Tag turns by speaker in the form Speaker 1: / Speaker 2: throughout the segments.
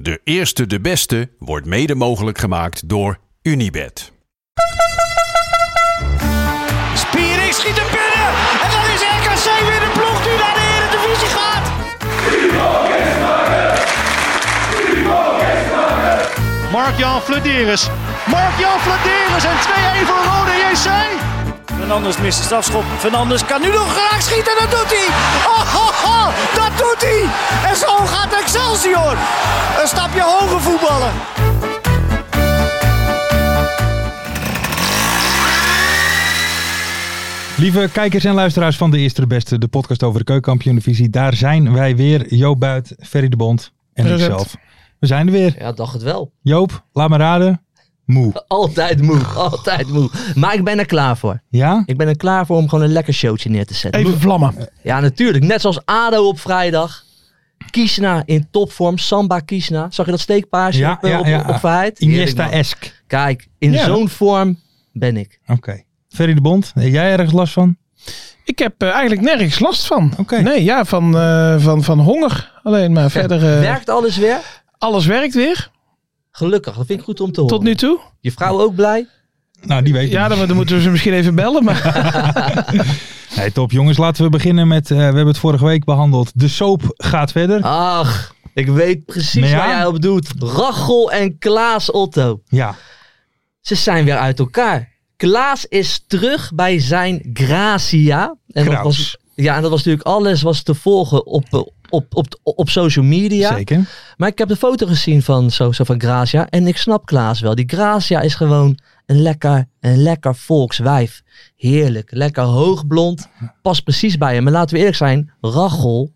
Speaker 1: De eerste de beste wordt mede mogelijk gemaakt door Unibed.
Speaker 2: Spiering schiet er binnen. En dan is RKC weer de ploeg die naar de Eredivisie gaat. Mark-Jan Flederis. Mark-Jan Flederis en 2-1 voor Rode JC. Fernandes mist de strafschop. Fernandes kan nu nog graag schieten. Dat doet hij. Oh, ho, ho, dat doet hij. En zo gaat Excelsior. Een stapje hoger voetballen.
Speaker 3: Lieve kijkers en luisteraars van De Eerste de Beste, de podcast over de keukenkampioen-divisie. Daar zijn wij weer. Joop Buit, Ferry de Bond en
Speaker 4: Present.
Speaker 3: ikzelf. We zijn er weer.
Speaker 4: Ja, dacht het wel.
Speaker 3: Joop, laat me raden. Moe.
Speaker 4: Altijd moe, altijd moe. Maar ik ben er klaar voor.
Speaker 3: Ja?
Speaker 4: Ik ben er klaar voor om gewoon een lekker showtje neer te zetten.
Speaker 5: Even vlammen.
Speaker 4: Ja, natuurlijk. Net zoals ADO op vrijdag. Kiesna in topvorm. Samba Kiesna. Zag je dat steekpaasje
Speaker 3: Ja,
Speaker 4: op, eh,
Speaker 3: ja,
Speaker 4: op,
Speaker 3: ja.
Speaker 4: op Verheid? Heerlijk, man.
Speaker 3: Iniesta-esk.
Speaker 4: Kijk, in
Speaker 5: Ja.
Speaker 4: zo'n vorm ben ik.
Speaker 3: Oké. Ferry de Bond, heb jij ergens last van?
Speaker 5: Ik heb eh, eigenlijk nergens last van.
Speaker 3: Oké.
Speaker 5: Nee, ja, van, eh, van, van honger. Alleen maar verder. eh,
Speaker 4: Werkt alles weer?
Speaker 5: Alles werkt weer.
Speaker 4: Gelukkig, dat vind ik goed om te horen.
Speaker 5: Tot nu toe.
Speaker 4: Je vrouw ook blij?
Speaker 3: Nou, die weet
Speaker 5: Ja,
Speaker 3: ik.
Speaker 5: dan, dan moeten we ze misschien even bellen. Maar
Speaker 3: Hey, top jongens, laten we beginnen met, eh, we hebben het vorige week behandeld. De soap gaat verder.
Speaker 4: Ach, ik weet precies
Speaker 3: Maar ja.
Speaker 4: waar jij op doet. Rachel en Klaas Otto.
Speaker 3: Ja.
Speaker 4: Ze zijn weer uit elkaar. Klaas is terug bij zijn Gracia. En dat
Speaker 3: Kraus.
Speaker 4: was, ja, en dat was natuurlijk alles was te volgen op, eh, op, op, op social media.
Speaker 3: zeker.
Speaker 4: Maar ik heb de foto gezien van, zo, zo van Gracia. En ik snap Klaas wel. Die Gracia is gewoon een lekker, een lekker volkswijf. Heerlijk. Lekker hoogblond. Past precies bij hem. Maar laten we eerlijk zijn. Rachel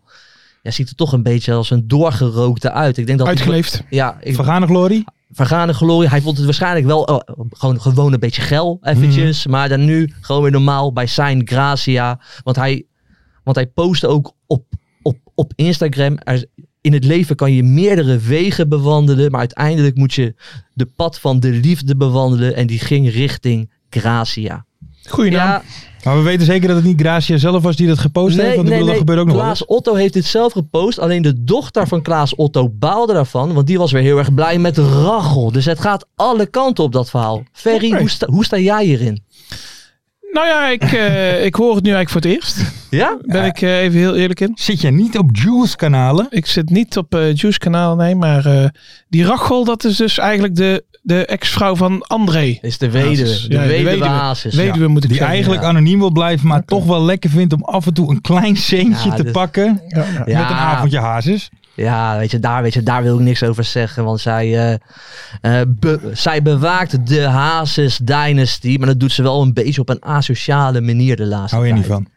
Speaker 4: ja, ziet er toch een beetje als een doorgerookte uit. Ik denk dat
Speaker 5: uitgeleefd.
Speaker 4: Ja, ik,
Speaker 3: Vergane glorie.
Speaker 4: vergane glorie. Hij vond het waarschijnlijk wel eh, gewoon, gewoon een beetje geil eventjes. Maar dan nu gewoon weer normaal bij zijn Gracia. Want hij, want hij postte ook op, op, op Instagram. Er- in het leven kan je meerdere wegen bewandelen. Maar uiteindelijk moet je de pad van de liefde bewandelen. En die ging richting Gracia.
Speaker 5: Goeie naam.
Speaker 3: Maar we weten zeker dat het niet Gracia zelf was die dat gepost heeft. Want ik bedoel, dat gebeurt ook nog wel.
Speaker 4: Klaas Otto heeft dit zelf gepost. Alleen de dochter van Klaas Otto baalde daarvan. Want die was weer heel erg blij met Rachel. Dus het gaat alle kanten op dat verhaal. Ferry,
Speaker 5: Oké.
Speaker 4: hoe, sta, hoe sta jij hierin?
Speaker 5: Nou ja, ik, eh, ik hoor het nu eigenlijk voor het eerst.
Speaker 4: Ja?
Speaker 5: Ben ik eh, even heel eerlijk in.
Speaker 3: Zit jij niet op Juice kanalen?
Speaker 5: Ik zit niet op eh Juice kanaal, nee. Maar eh, die Rachel, dat is dus eigenlijk de, de ex-vrouw van André.
Speaker 4: Is de weduwe.
Speaker 5: Hazes.
Speaker 4: De
Speaker 5: Ja, de
Speaker 4: weduwe
Speaker 5: weduwe.
Speaker 4: Hazes, ja.
Speaker 5: Weduwe moet ik
Speaker 3: Die
Speaker 5: zeggen.
Speaker 3: eigenlijk
Speaker 4: ja.
Speaker 3: anoniem wil blijven, maar toch wel lekker vindt om af en toe een klein centje
Speaker 4: Ja,
Speaker 3: te
Speaker 4: dit-
Speaker 3: pakken.
Speaker 5: Ja, ja.
Speaker 4: Ja.
Speaker 3: Met een avondje hazes.
Speaker 4: Ja, weet je, daar, weet je, daar wil ik niks over zeggen. Want zij, eh, eh, be- zij bewaakt de Hazes Dynasty. Maar dat doet ze wel een beetje op een asociale manier de laatste
Speaker 3: Hou je niet
Speaker 4: tijd.
Speaker 3: van.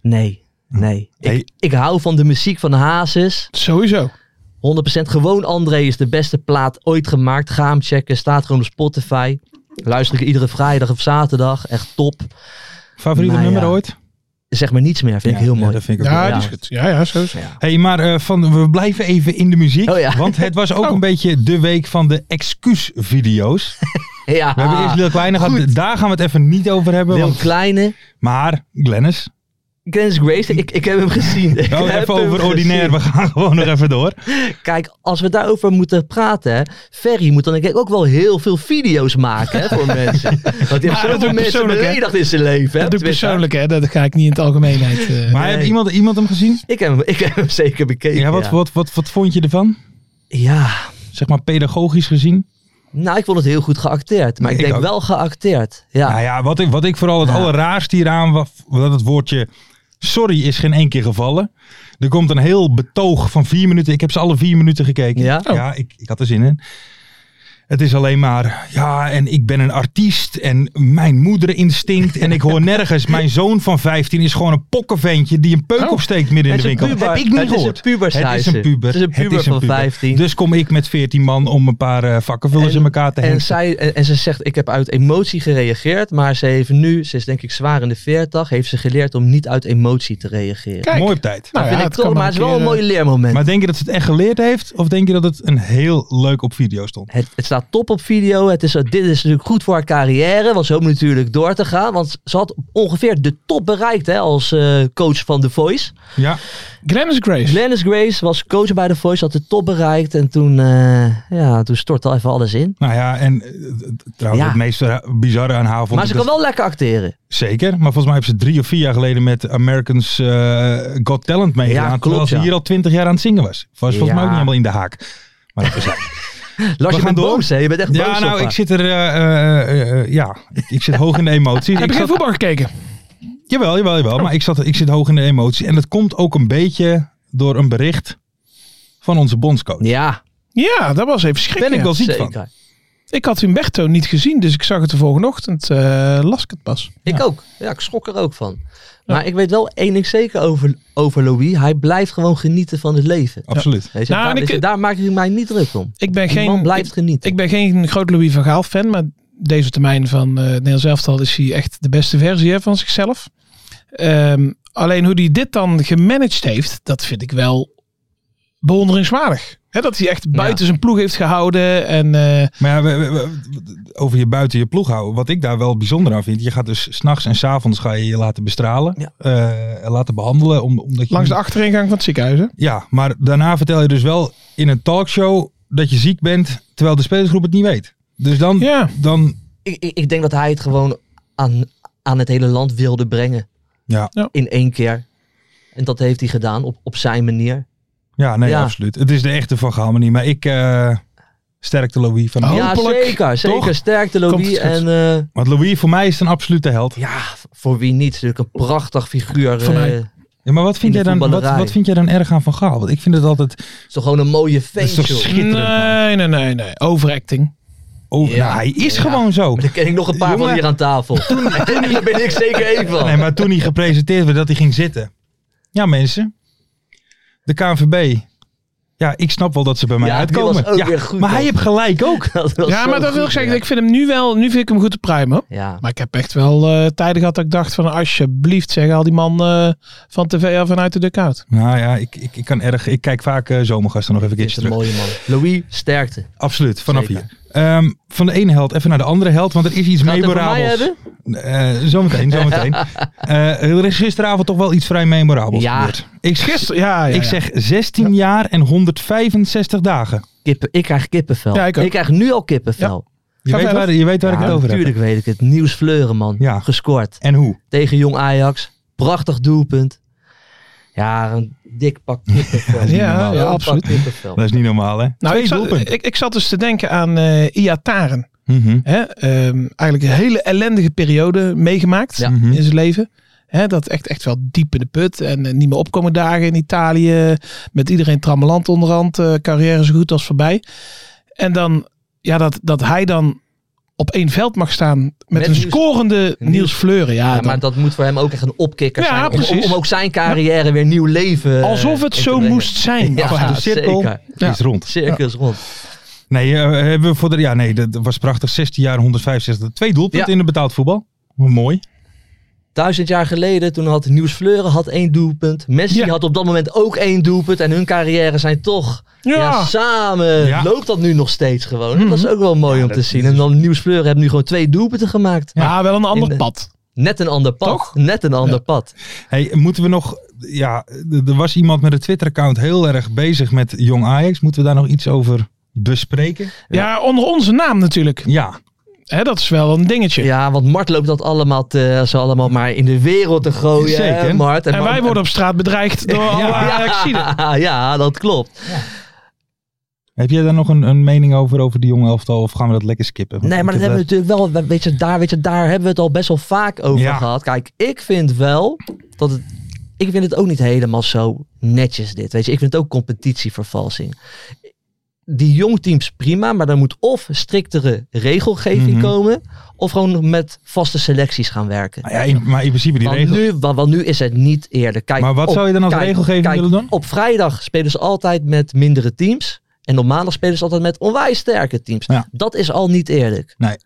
Speaker 3: Hm.
Speaker 4: Nee, nee.
Speaker 3: Hey.
Speaker 4: Ik, ik hou van de muziek van Hazes.
Speaker 5: Sowieso.
Speaker 4: 100% gewoon André is de beste plaat ooit gemaakt. Ga hem checken. Staat gewoon op Spotify. Luister ik iedere vrijdag of zaterdag. Echt top.
Speaker 3: Favoriete
Speaker 4: Nou ja,
Speaker 3: nummer ooit?
Speaker 4: Zeg maar niets meer. Vind ik
Speaker 3: Ja,
Speaker 4: heel
Speaker 3: ja,
Speaker 4: mooi.
Speaker 3: dat vind ik ook
Speaker 5: Ja,
Speaker 3: wel.
Speaker 5: die is goed. Ja, ja, sowieso.
Speaker 4: Ja.
Speaker 3: Hey, maar eh, van, we blijven even in de muziek.
Speaker 4: Oh ja.
Speaker 3: Want het was ook een beetje de week van de excuusvideo's.
Speaker 4: Ja.
Speaker 3: We hebben eerst Lil Kleine gehad.
Speaker 4: Ah, goed.
Speaker 3: Daar gaan we het even niet over hebben.
Speaker 4: Lil
Speaker 3: want-
Speaker 4: Kleine.
Speaker 3: maar Glennis.
Speaker 4: Glennis Grace. Ik, ik heb hem gezien. Ik
Speaker 3: Nou,
Speaker 4: heb
Speaker 3: even
Speaker 4: hem
Speaker 3: over ordinair.
Speaker 4: gezien.
Speaker 3: We gaan gewoon nog even door.
Speaker 4: Kijk, als we daarover moeten praten. Hè, Ferry moet dan denk ik ook wel heel veel video's maken hè, voor mensen. Want die heeft
Speaker 5: dat doe
Speaker 4: zoveel
Speaker 5: ik
Speaker 4: mensen
Speaker 5: persoonlijk, hè.
Speaker 4: beledigd in zijn leven. Hè,
Speaker 5: Dat doe ik
Speaker 4: op Twitter.
Speaker 5: persoonlijk, hè. Dat ga ik niet in het algemeenheid... eh,
Speaker 3: Maar heeft iemand, iemand hem gezien?
Speaker 4: Ik heb, hem, ik heb hem zeker bekeken.
Speaker 3: Ja, wat, Wat, wat, wat vond je ervan?
Speaker 4: ja.
Speaker 3: Zeg maar pedagogisch gezien?
Speaker 4: Nou, ik vond het heel goed geacteerd. Maar
Speaker 3: Nee,
Speaker 4: ik
Speaker 3: ik
Speaker 4: denk
Speaker 3: ook.
Speaker 4: wel geacteerd. Ja.
Speaker 3: Nou ja, wat ik, wat ik vooral het allerraarste hieraan was, dat het woordje sorry is geen één keer gevallen. Er komt een heel betoog van vier minuten. Ik heb ze alle vier minuten gekeken.
Speaker 4: Ja?
Speaker 3: ja ik, ik had er zin in. Het is alleen maar, ja, en ik ben een artiest en mijn moederinstinct en ik hoor nergens. Mijn zoon van 15 is gewoon een pokkenventje die een peuk
Speaker 5: Oh.
Speaker 3: opsteekt midden in de
Speaker 4: Het is
Speaker 3: winkel.
Speaker 4: een puber.
Speaker 3: Heb ik niet
Speaker 4: Het is een
Speaker 3: gehoord.
Speaker 4: pubersuizen.
Speaker 3: Het is een puber.
Speaker 4: Het is een puber van 15.
Speaker 3: Dus kom ik met 14 man om een paar eh, vakkenvullers
Speaker 4: En-
Speaker 3: in elkaar te
Speaker 4: en,
Speaker 3: hengsten.
Speaker 4: zij, en, en ze zegt, ik heb uit emotie gereageerd. Maar ze heeft nu, ze is denk ik zwaar in de 40, heeft ze geleerd om niet uit emotie te reageren.
Speaker 5: Kijk,
Speaker 3: Mooi op tijd.
Speaker 5: nou
Speaker 4: Vind
Speaker 5: ja,
Speaker 4: ik
Speaker 5: het
Speaker 4: toch,
Speaker 5: kan
Speaker 4: maar het is wel een mooi
Speaker 5: keer,
Speaker 4: leermoment.
Speaker 3: eh, Maar denk je dat ze het echt geleerd heeft? Of denk je dat het een heel leuk op video stond?
Speaker 4: Het, het staat top op video. Het is, dit is natuurlijk goed voor haar carrière. Want ze hoopt natuurlijk door te gaan. Want ze had ongeveer de top bereikt hè, als eh, coach van The Voice.
Speaker 3: Ja,
Speaker 5: eh, Glennis Grace.
Speaker 4: Glennis Grace was coach bij The Voice. Had de top bereikt. En toen, eh ja, toen stortte al even alles in.
Speaker 3: nou ja, en eh, d- trouwens
Speaker 4: Ja.
Speaker 3: het meest eh, bizarre aan haar vond
Speaker 4: Maar
Speaker 3: ik dus-
Speaker 4: ze
Speaker 3: dat-
Speaker 4: kan wel lekker acteren.
Speaker 3: Zeker, maar volgens mij heeft ze drie of vier jaar geleden met Americans eh, Got Talent meegedaan.
Speaker 4: klopt,
Speaker 3: terwijl ze
Speaker 4: ja.
Speaker 3: hier al twintig jaar aan het zingen was. Was volgens
Speaker 4: Ja.
Speaker 3: mij ook niet helemaal in de haak. Maar dat is
Speaker 4: Lars, je
Speaker 3: gaan
Speaker 4: bent
Speaker 3: door.
Speaker 4: boos hè? Je bent echt boos
Speaker 3: ja,
Speaker 4: op
Speaker 3: nou, ik
Speaker 4: haar.
Speaker 3: zit er, eh, eh, eh, eh, ja, ik, ik zit hoog in de emoties.
Speaker 5: Heb
Speaker 3: Ik
Speaker 5: je geen
Speaker 3: zat-
Speaker 5: voetbal gekeken?
Speaker 3: Jawel, jawel, jawel. Maar ik, zat, ik zit hoog in de emoties. En dat komt ook een beetje door een bericht van onze bondscoach.
Speaker 4: Ja,
Speaker 5: Ja, dat was even schrikken.
Speaker 3: Ben ik wel ziek
Speaker 4: zeker.
Speaker 3: van.
Speaker 5: Ik had Humberto niet gezien, dus ik zag het de volgende ochtend. eh las ik het pas.
Speaker 4: Ik ook. Ja, ik schrok er ook van. Maar ik weet wel één ding zeker over, over Louis. Hij blijft gewoon genieten van het leven.
Speaker 3: Absoluut.
Speaker 4: Weet je,
Speaker 5: Nou, en
Speaker 4: daar,
Speaker 5: ik-
Speaker 4: weet je, daar maak ik mij niet druk om.
Speaker 5: Ik ben
Speaker 4: Die
Speaker 5: geen,
Speaker 4: man blijft genieten.
Speaker 5: Ik ben geen groot Louis van Gaal fan, maar deze termijn van eh Nederlands elftal is hij echt de beste versie hè, van zichzelf. Ehm, alleen hoe hij dit dan gemanaged heeft, dat vind ik wel bewonderingswaardig. Hè, dat hij echt buiten zijn ploeg heeft gehouden en eh,
Speaker 3: Maar ja, we- we- we- over je buiten je ploeg houden. Wat ik daar wel bijzonder aan vind. Je gaat dus s'nachts en s'avonds ga je je laten bestralen.
Speaker 4: Ja.
Speaker 3: eh, laten behandelen. om- omdat je
Speaker 5: langs
Speaker 4: Mm.
Speaker 5: de achteringang van het ziekenhuis. Hè?
Speaker 3: Ja, maar daarna vertel je dus wel in een talkshow dat je ziek bent. Terwijl de spelersgroep het niet weet. Dus dan,
Speaker 5: Ja,
Speaker 3: dan
Speaker 4: ik, ik, ik denk dat hij het gewoon aan, aan het hele land wilde brengen.
Speaker 3: Ja.
Speaker 5: Ja.
Speaker 4: In één keer. En dat heeft hij gedaan op, op zijn manier.
Speaker 3: ja, nee,
Speaker 4: Ja.
Speaker 3: absoluut. Het is de echte Van Gaal manier. Maar ik eh, sterkte Louis van
Speaker 5: Oh.
Speaker 3: Gaal.
Speaker 4: ja,
Speaker 5: Hopelijk,
Speaker 4: zeker. Zeker. Sterkte
Speaker 5: Komt
Speaker 4: Louis.
Speaker 5: het goed.
Speaker 4: En eh,
Speaker 3: Want Louis voor mij is een absolute held.
Speaker 4: ja, voor wie niet. Natuurlijk een prachtig figuur.
Speaker 5: Van mij.
Speaker 4: eh,
Speaker 3: Ja, maar wat vind, jij
Speaker 4: In de
Speaker 3: dan, wat,
Speaker 4: voetballerij.
Speaker 3: wat vind jij dan erg aan Van Gaal? Want ik vind het altijd...
Speaker 4: is toch gewoon een mooie
Speaker 3: Dat is toch
Speaker 4: feest, joh.
Speaker 3: schitterend. man.
Speaker 5: nee, nee, nee, nee. Overacting.
Speaker 3: Oh,
Speaker 4: Ja.
Speaker 3: nou, hij is
Speaker 4: Ja.
Speaker 3: gewoon zo.
Speaker 4: Maar dan ken ik nog een paar
Speaker 3: Jongen.
Speaker 4: van hier aan tafel. En daar ben ik zeker één van.
Speaker 3: Nee, maar toen hij gepresenteerd werd dat hij ging zitten. Ja, mensen. De KNVB. Ja, ik snap wel dat ze bij mij
Speaker 4: Ja, die
Speaker 3: uitkomen.
Speaker 4: was ook
Speaker 3: ja,
Speaker 4: weer goed,
Speaker 3: maar
Speaker 4: hoor.
Speaker 3: hij heeft gelijk ook.
Speaker 4: Dat was
Speaker 5: Ja,
Speaker 4: zo
Speaker 5: maar dat wil ik
Speaker 4: goed,
Speaker 5: zeggen.
Speaker 4: ja.
Speaker 5: Ik vind hem nu wel, nu vind ik hem goed te pruimen. hoor.
Speaker 4: Ja.
Speaker 5: Maar ik heb echt wel eh, tijden gehad dat ik dacht van alsjeblieft zeg al die man eh, van tv af en uit de dugout.
Speaker 3: Nou ja, ik, ik, ik kan erg. Ik kijk vaak eh, zomergasten nog even een
Speaker 4: Dit is
Speaker 3: keertje
Speaker 4: een
Speaker 3: terug.
Speaker 4: mooie man. Louis, sterkte. Gaat
Speaker 3: Absoluut, vanaf
Speaker 4: Zeker.
Speaker 3: hier. Ehm, van de ene held even naar de andere held, want er is iets
Speaker 4: het over mij
Speaker 3: memorabels.
Speaker 4: hebben?
Speaker 3: Eh, zometeen, zometeen. Eh, er is gisteravond toch wel iets vrij memorabels
Speaker 4: Ja.
Speaker 3: gebeurd. Ik,
Speaker 5: Gisteren, ja, ja,
Speaker 3: ik
Speaker 5: ja.
Speaker 3: zeg 16 jaar en 165 dagen.
Speaker 4: Kippen, ik krijg kippenvel.
Speaker 5: Ja, ik ook.
Speaker 4: krijg nu al kippenvel.
Speaker 3: Je
Speaker 5: Ga
Speaker 3: weet,
Speaker 5: verder.
Speaker 3: waar, je weet waar ik het over heb.
Speaker 4: natuurlijk weet ik het. Nieuws Fleuren, man.
Speaker 3: Ja.
Speaker 4: Gescoord.
Speaker 3: En hoe?
Speaker 4: Tegen Jong Ajax. Prachtig doelpunt. Ja, een dik pak kippenvel.
Speaker 5: Ja,
Speaker 4: Een
Speaker 5: ja,
Speaker 4: pak
Speaker 5: absoluut.
Speaker 4: kippenvel.
Speaker 3: Dat is niet normaal, hè?
Speaker 5: Nou,
Speaker 3: Twee
Speaker 5: ik, zat,
Speaker 3: doelpunten.
Speaker 5: ik, ik zat dus te denken aan eh Iataren.
Speaker 3: Mhm.
Speaker 5: Hè? Ehm, eigenlijk een hele ellendige periode meegemaakt
Speaker 4: Ja.
Speaker 3: Mhm.
Speaker 5: in zijn leven. Hè, dat echt, echt wel diep in de put. En eh, niet meer opkomen dagen in Italië. Met iedereen trammeland onderhand. eh, carrière zo goed als voorbij. En dan, ja, dat, dat hij dan op één veld mag staan met,
Speaker 4: Met
Speaker 5: een
Speaker 4: Niels-
Speaker 5: scorende
Speaker 4: Niels-
Speaker 5: Niels Fleuren. Ja,
Speaker 4: Ja,
Speaker 5: dan-
Speaker 4: maar dat moet voor hem ook echt een opkikker
Speaker 5: Ja,
Speaker 4: zijn. om- Om,
Speaker 5: precies.
Speaker 4: om ook zijn carrière weer nieuw leven eh,
Speaker 5: alsof het
Speaker 4: in te
Speaker 5: zo
Speaker 4: brengen.
Speaker 5: moest zijn.
Speaker 4: Ja,
Speaker 5: Of hij-
Speaker 3: de cirkel.
Speaker 4: zeker.
Speaker 5: Ja.
Speaker 3: Is rond.
Speaker 4: Circus rond.
Speaker 3: Nee, eh, hebben we voor de, ja, nee, dat was prachtig. 16 jaar, 165. Twee doelpunten
Speaker 4: Ja.
Speaker 3: in de betaald voetbal. Hoe Mooi.
Speaker 4: Duizend jaar geleden, toen had Nieuws Fleuren had één doelpunt. Messi
Speaker 5: Ja.
Speaker 4: had op dat moment ook één doelpunt. En hun carrière zijn toch ja. samen.
Speaker 3: Ja.
Speaker 4: Loopt dat nu nog steeds gewoon. Dat is dus- ook wel mooi om te zien. En dan Nieuws Fleuren hebben nu gewoon twee doelpunten gemaakt.
Speaker 5: Maar wel een ander
Speaker 4: In de-
Speaker 5: pad.
Speaker 4: Net een ander pad.
Speaker 5: Toch?
Speaker 4: Net een ander pad.
Speaker 3: Hey, moeten we nog. Ja, d- er was iemand met een Twitter-account heel erg bezig met jong Ajax. Moeten we daar nog iets over bespreken?
Speaker 5: Ja, onder onze naam natuurlijk.
Speaker 3: Ja,
Speaker 5: Hè, dat is wel een dingetje.
Speaker 4: Ja, want Mart loopt dat allemaal, te, zo allemaal maar in de wereld te gooien. hè,
Speaker 3: Zeker.
Speaker 4: Mart.
Speaker 5: En wij worden op straat bedreigd door alle Ajaxiden.
Speaker 4: ja, ja, dat klopt.
Speaker 3: Heb jij daar nog een, een mening over, over die jonge elftal? Of gaan we dat lekker skippen? Want
Speaker 4: Nee, maar
Speaker 3: ik
Speaker 4: dat hebben we
Speaker 3: heb
Speaker 4: natuurlijk wel. we- Weet je, daar, weet je, daar hebben we het al best wel vaak over
Speaker 3: Ja.
Speaker 4: gehad. Kijk, ik vind wel dat het. Ik vind het ook niet helemaal zo netjes dit. Weet je, ik vind het ook competitievervalsing. Die jongteams prima, maar dan moet of striktere regelgeving
Speaker 3: Mhm.
Speaker 4: komen, of gewoon met vaste selecties gaan werken.
Speaker 3: Nou ja, in- maar in principe die
Speaker 4: want,
Speaker 3: regel.
Speaker 4: Nu, want, want nu is het niet eerlijk. Kijk,
Speaker 3: Maar wat
Speaker 4: op-
Speaker 3: zou je dan als
Speaker 4: kijk,
Speaker 3: regelgeving
Speaker 4: kijk,
Speaker 3: willen doen?
Speaker 4: Op vrijdag spelen ze altijd met mindere teams. En op maandag spelen ze altijd met onwijs sterke teams.
Speaker 3: Ja.
Speaker 4: Dat is al niet eerlijk.
Speaker 3: Nee.